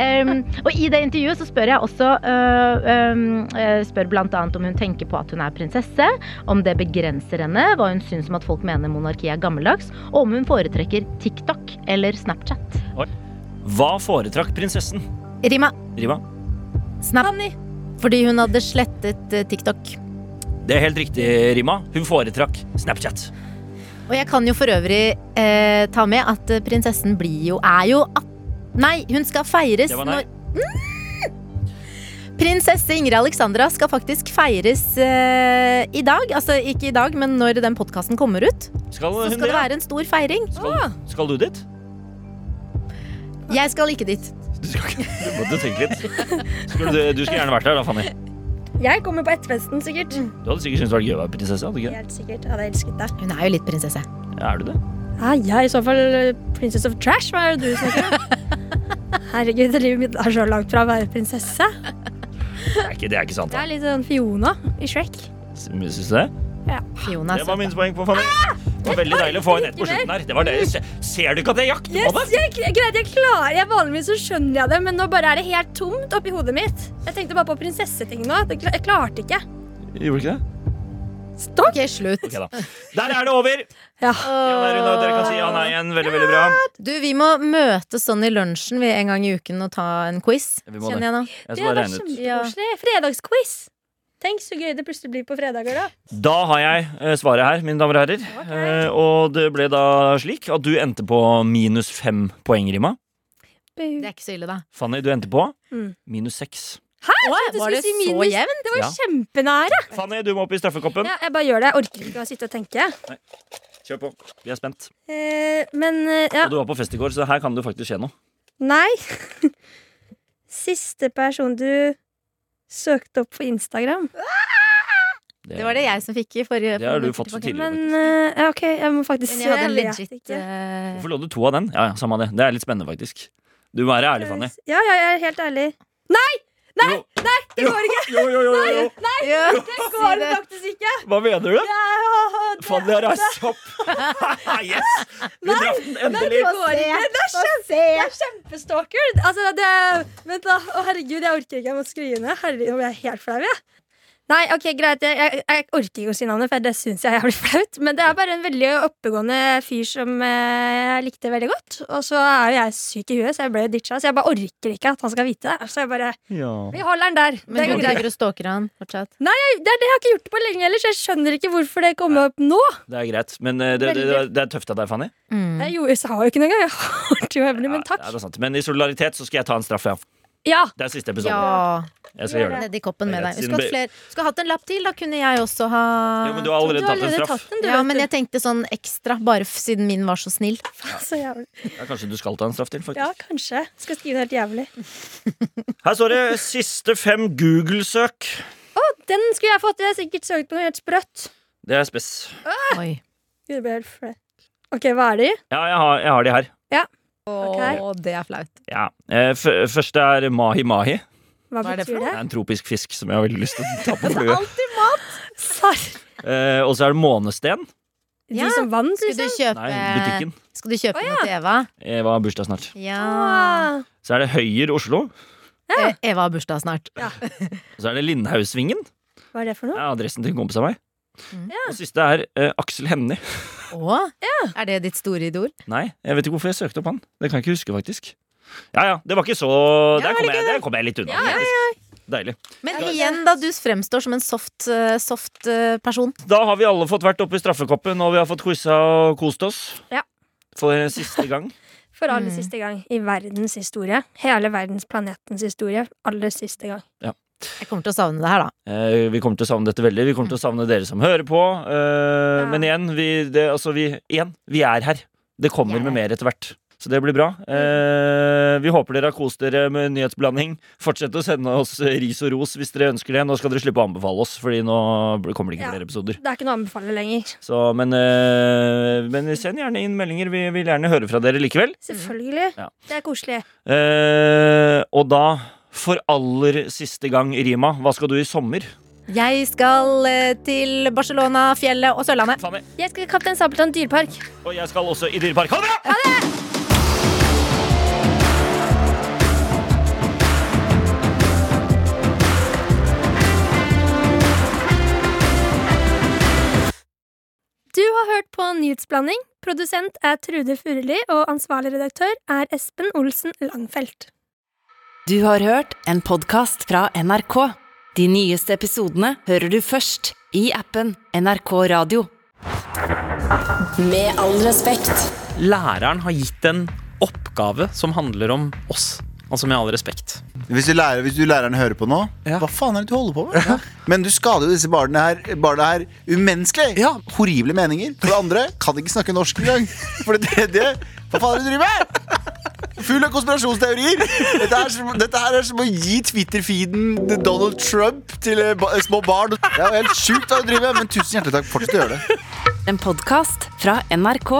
[SPEAKER 4] Ehm, og i det intervjuet så spør jeg også øh, øhm, øh, Spør blant annet om hun tenker på at hun er prinsesse, om det begrenser henne, hva hun syns om at folk mener monarkiet er gammeldags, og om hun foretrekker TikTok eller Snapchat.
[SPEAKER 1] Hva foretrakk prinsessen?
[SPEAKER 2] Rima,
[SPEAKER 1] Rima?
[SPEAKER 2] snap. Fordi hun hadde slettet eh, TikTok.
[SPEAKER 1] Det er helt riktig, Rima. Hun foretrakk Snapchat.
[SPEAKER 2] Og jeg kan jo for øvrig eh, ta med at eh, prinsessen blir jo Er jo at... Nei, hun skal feires
[SPEAKER 1] Det var nei.
[SPEAKER 2] når Mm! Prinsesse Ingrid Alexandra skal faktisk feires eh, i dag. Altså ikke i dag, men når den podkasten kommer ut.
[SPEAKER 1] Skal hun
[SPEAKER 2] Så skal det
[SPEAKER 1] det?
[SPEAKER 2] være en stor feiring.
[SPEAKER 1] Skal, skal du dit?
[SPEAKER 2] Jeg skal ikke dit.
[SPEAKER 1] Du skal ikke Du måtte tenke litt. Skulle du, du skulle gjerne vært der, da, Fanny.
[SPEAKER 3] Jeg kommer på etterfesten, sikkert.
[SPEAKER 1] Du hadde sikkert syntes det var gøy å være prinsesse. hadde du ikke?
[SPEAKER 3] Helt sikkert. Jeg hadde elsket det.
[SPEAKER 2] Hun er jo litt prinsesse.
[SPEAKER 1] Ja, Er du det?
[SPEAKER 3] Er jeg Ah, i så fall eh, Princess of Trash? Hva er det du snakker om? Herregud, livet mitt er så langt fra å være prinsesse.
[SPEAKER 1] Det er ikke, det er ikke sant.
[SPEAKER 3] Det
[SPEAKER 1] da.
[SPEAKER 3] er litt sånn Fiona i Shrek.
[SPEAKER 1] Syns du det? Det
[SPEAKER 2] Jonas.
[SPEAKER 3] Altså.
[SPEAKER 1] var minuspoeng på Fanny.
[SPEAKER 3] Ah!
[SPEAKER 1] Det var veldig deilig å få en ett på slutten her. Det var det. Se- Ser du ikke at jeg jakter på
[SPEAKER 3] Yes,
[SPEAKER 1] det?
[SPEAKER 3] jeg, jeg, greit, jeg klarer jeg Vanligvis så skjønner jeg det, men nå bare er det helt tomt oppi hodet mitt. Jeg tenkte bare på prinsesseting nå. Det kla- Jeg klarte ikke.
[SPEAKER 1] Gjorde ikke det?
[SPEAKER 2] Stopp! Ok, slutt.
[SPEAKER 1] Ok, da. Der er det over. Ja,
[SPEAKER 3] Ja.
[SPEAKER 1] der, Rune, dere kan si ja nei igjen. Veldig, veldig
[SPEAKER 3] Ah,
[SPEAKER 1] bra.
[SPEAKER 2] Du, vi må møtes sånn i lunsjen vi en gang i uken og ta en quiz.
[SPEAKER 1] Vi må
[SPEAKER 2] Kjenner jeg nå.
[SPEAKER 1] Jeg
[SPEAKER 3] Det
[SPEAKER 1] skal bare
[SPEAKER 3] var
[SPEAKER 1] regne ut.
[SPEAKER 3] kjempekoselig. Fredagsquiz. Tenk så gøy det plutselig blir på fredager, da.
[SPEAKER 1] Da har jeg eh, svaret her, mine damer og herrer. Eh, Og det ble da slik at du endte på minus fem poeng, Rima.
[SPEAKER 2] Det er ikke så ille, da.
[SPEAKER 1] Fanny, du endte på
[SPEAKER 3] Mm.
[SPEAKER 1] minus seks.
[SPEAKER 3] du
[SPEAKER 2] var
[SPEAKER 3] skulle
[SPEAKER 2] det
[SPEAKER 3] si
[SPEAKER 2] så
[SPEAKER 3] minus.
[SPEAKER 2] jevnt?
[SPEAKER 3] Det var
[SPEAKER 1] Ja.
[SPEAKER 3] kjempenære.
[SPEAKER 1] Fanny, du må opp i straffekoppen.
[SPEAKER 3] Ja, jeg bare gjør det. Jeg orker ikke å sitte og tenke.
[SPEAKER 1] Kjør på. Vi er spent.
[SPEAKER 3] Eh, men eh, ja.
[SPEAKER 1] Og du var på fest i går, så her kan det faktisk skje noe.
[SPEAKER 3] Nei. Siste person du søkte opp på Instagram.
[SPEAKER 2] Det var det jeg som fikk i forrige
[SPEAKER 1] Det har du
[SPEAKER 2] for-
[SPEAKER 1] fått så tidligere.
[SPEAKER 2] tilbake.
[SPEAKER 3] Men
[SPEAKER 1] faktisk.
[SPEAKER 3] eh, ja, OK, jeg må faktisk
[SPEAKER 2] Men
[SPEAKER 3] se.
[SPEAKER 2] jeg hadde
[SPEAKER 3] vet
[SPEAKER 2] legit
[SPEAKER 3] ikke.
[SPEAKER 2] eh,
[SPEAKER 1] Hvorfor lå det to av den? Ja, ja, samme av det. Det er litt spennende, faktisk. Du må være ærlig, Fanny.
[SPEAKER 3] Ja, ja, jeg er helt ærlig. Nei!
[SPEAKER 1] Nei, nei, det går ikke! Jo, jo, jo, jo, jo.
[SPEAKER 2] Ja, si det.
[SPEAKER 3] faktisk ikke!
[SPEAKER 1] Hva mener du?
[SPEAKER 3] Ja,
[SPEAKER 1] Faen, jeg har reist opp. yes! Vi traff den endelig.
[SPEAKER 3] går ikke. Det er kjempestalker. Altså, det er, vent, da. Å, herregud, jeg orker ikke. Jeg må skru ned. Herregud, nå blir jeg helt flau, jeg. Nei, ok, greit. Jeg, jeg, jeg orker ikke å si navnet, for det syns jeg er jævlig flaut. Men det er bare en veldig oppegående fyr som eh, jeg likte veldig godt. Og så er jo jeg syk i huet, så jeg ble jo ditcha. Så jeg bare orker ikke at han skal vite det. Så jeg bare
[SPEAKER 1] Ja.
[SPEAKER 3] Vi holder den der.
[SPEAKER 2] Men
[SPEAKER 3] det,
[SPEAKER 2] du
[SPEAKER 3] går greit.
[SPEAKER 2] driver og stalker han fortsatt?
[SPEAKER 3] det er det jeg har ikke gjort det på lenge ellers. Jeg skjønner ikke hvorfor det kom opp nå.
[SPEAKER 1] Det er greit, men eh, det, det, det er tøft av deg, Fanny.
[SPEAKER 2] Mm.
[SPEAKER 3] Jeg, gjorde, jeg sa jo ikke noe engang. Jeg har det jo hemmelig, men
[SPEAKER 1] Ja,
[SPEAKER 3] takk.
[SPEAKER 1] det er sant. Men i solidaritet så skal jeg ta en straff. Ja.
[SPEAKER 3] Ja,
[SPEAKER 1] Det er siste episode.
[SPEAKER 2] Ja.
[SPEAKER 1] Jeg skal gjøre det.
[SPEAKER 2] Nedi koppen med
[SPEAKER 1] Det er
[SPEAKER 2] deg.
[SPEAKER 1] rett
[SPEAKER 2] Skulle hatt,
[SPEAKER 1] siden
[SPEAKER 2] flere, skulle hatt en lapp til, da kunne jeg også ha
[SPEAKER 1] Jo, men du har allerede
[SPEAKER 3] du har
[SPEAKER 1] tatt en
[SPEAKER 3] allerede
[SPEAKER 1] straff.
[SPEAKER 3] tatt den, du.
[SPEAKER 2] Ja,
[SPEAKER 3] vet
[SPEAKER 2] men
[SPEAKER 3] du.
[SPEAKER 2] jeg tenkte sånn ekstra, bare f- siden min var så snill.
[SPEAKER 3] Så jævlig.
[SPEAKER 1] Ja, kanskje du skal ta en straff til, faktisk.
[SPEAKER 3] Ja, kanskje. Skal skrive noe helt jævlig.
[SPEAKER 1] Her står det 'siste fem Google-søk'.
[SPEAKER 3] Den skulle jeg fått. Jeg har sikkert søkt på noe helt sprøtt.
[SPEAKER 1] Det er spess.
[SPEAKER 2] Oi.
[SPEAKER 3] Gud, jeg ble helt flau. Ok, hva er de?
[SPEAKER 1] Ja, jeg har, jeg har de her.
[SPEAKER 2] Å, det er flaut.
[SPEAKER 1] Ja. Eh, f første er mahi-mahi. Det
[SPEAKER 3] Hva,
[SPEAKER 2] Hva er det for
[SPEAKER 3] betyr det?
[SPEAKER 1] er en tropisk fisk som jeg har veldig lyst til å ta på fluet.
[SPEAKER 3] Sarr.
[SPEAKER 1] Eh, og så er det månesten.
[SPEAKER 3] De
[SPEAKER 2] Ja,
[SPEAKER 3] som vant,
[SPEAKER 2] Skal du
[SPEAKER 3] liksom?
[SPEAKER 2] kjøpe,
[SPEAKER 1] Nei, butikken.
[SPEAKER 2] skal du kjøpe noe til Eva?
[SPEAKER 1] Eva har bursdag snart.
[SPEAKER 2] Ja.
[SPEAKER 3] Ah,
[SPEAKER 1] Så er det Høyer Oslo.
[SPEAKER 2] Eh, Eva har bursdag snart.
[SPEAKER 1] Og så er det Lindhaugsvingen.
[SPEAKER 3] hva er det for
[SPEAKER 1] Det
[SPEAKER 3] noe?
[SPEAKER 1] er adressen til en kompis av meg.
[SPEAKER 2] Mm.
[SPEAKER 1] Og siste er eh, Aksel Hennie.
[SPEAKER 2] Å? Er det ditt store idol?
[SPEAKER 1] Nei, jeg vet ikke hvorfor jeg søkte opp han. Det kan jeg ikke huske, faktisk. Ja ja, det var ikke så Der kom jeg, der kom jeg litt unna. faktisk. Deilig.
[SPEAKER 2] Men igjen, da. Du fremstår som en soft, eh, soft eh, person.
[SPEAKER 1] Da har vi alle fått vært oppe i straffekoppen, og vi har fått quiza og kost oss.
[SPEAKER 3] Ja.
[SPEAKER 1] For siste gang.
[SPEAKER 3] For aller
[SPEAKER 2] Mm.
[SPEAKER 3] siste gang i verdens historie. Hele verdens planetens historie. Aller siste gang.
[SPEAKER 2] Jeg kommer til å savne det her, da.
[SPEAKER 1] Eh, vi kommer til å savne dette veldig. Vi kommer til å savne dere som hører på. Eh,
[SPEAKER 3] Ja.
[SPEAKER 1] Men igjen, vi, det, altså, vi, igjen, vi er her. Det kommer med mer etter hvert. Så det blir bra. Eh, vi håper dere har kost dere med nyhetsblanding. Fortsett å sende oss ris og ros hvis dere ønsker det. Nå skal dere slippe å anbefale oss, Fordi nå bl- kommer det ikke
[SPEAKER 3] Ja.
[SPEAKER 1] flere episoder.
[SPEAKER 3] Det er ikke noe å anbefale lenger.
[SPEAKER 1] Så, men, eh, men send gjerne inn meldinger. Vi vil gjerne høre fra dere likevel.
[SPEAKER 2] Mm.
[SPEAKER 3] Selvfølgelig.
[SPEAKER 1] Ja.
[SPEAKER 3] Det er koselig.
[SPEAKER 1] Eh, og da, for aller siste gang, Rima, hva skal du i sommer?
[SPEAKER 2] Jeg skal eh, til Barcelona, fjellet og Sørlandet.
[SPEAKER 1] Fanny.
[SPEAKER 3] Jeg skal til Kaptein Sabeltann dyrepark.
[SPEAKER 1] Og jeg skal også i Dyrepark. Ha det bra!
[SPEAKER 3] Du har hørt på Nyhetsblanding. Produsent er Trude Furuli, og ansvarlig redaktør er Espen Olsen Langfelt.
[SPEAKER 6] Du har hørt en podkast fra NRK. De nyeste episodene hører du først i appen NRK Radio. Med all respekt.
[SPEAKER 7] Læreren har gitt en oppgave som handler om oss. Altså med all respekt.
[SPEAKER 8] Hvis du, lærer, hvis du læreren hører på nå,
[SPEAKER 7] Ja.
[SPEAKER 8] hva faen er det du holder på med? Men du skader jo disse barna her, barna her umenneskelig.
[SPEAKER 7] Ja.
[SPEAKER 8] Horrible meninger. For det andre, kan ikke snakke norsk engang. For det tredje, hva faen er det du driver med? Full av konspirasjonsteorier. Dette, er som, dette her er som å gi Twitter-feeden til Donald Trump til eh, ba, små barn. Det er jo helt sjukt hva du driver med, men tusen hjertelig takk. Fortsett å gjøre det.
[SPEAKER 6] En podkast fra NRK.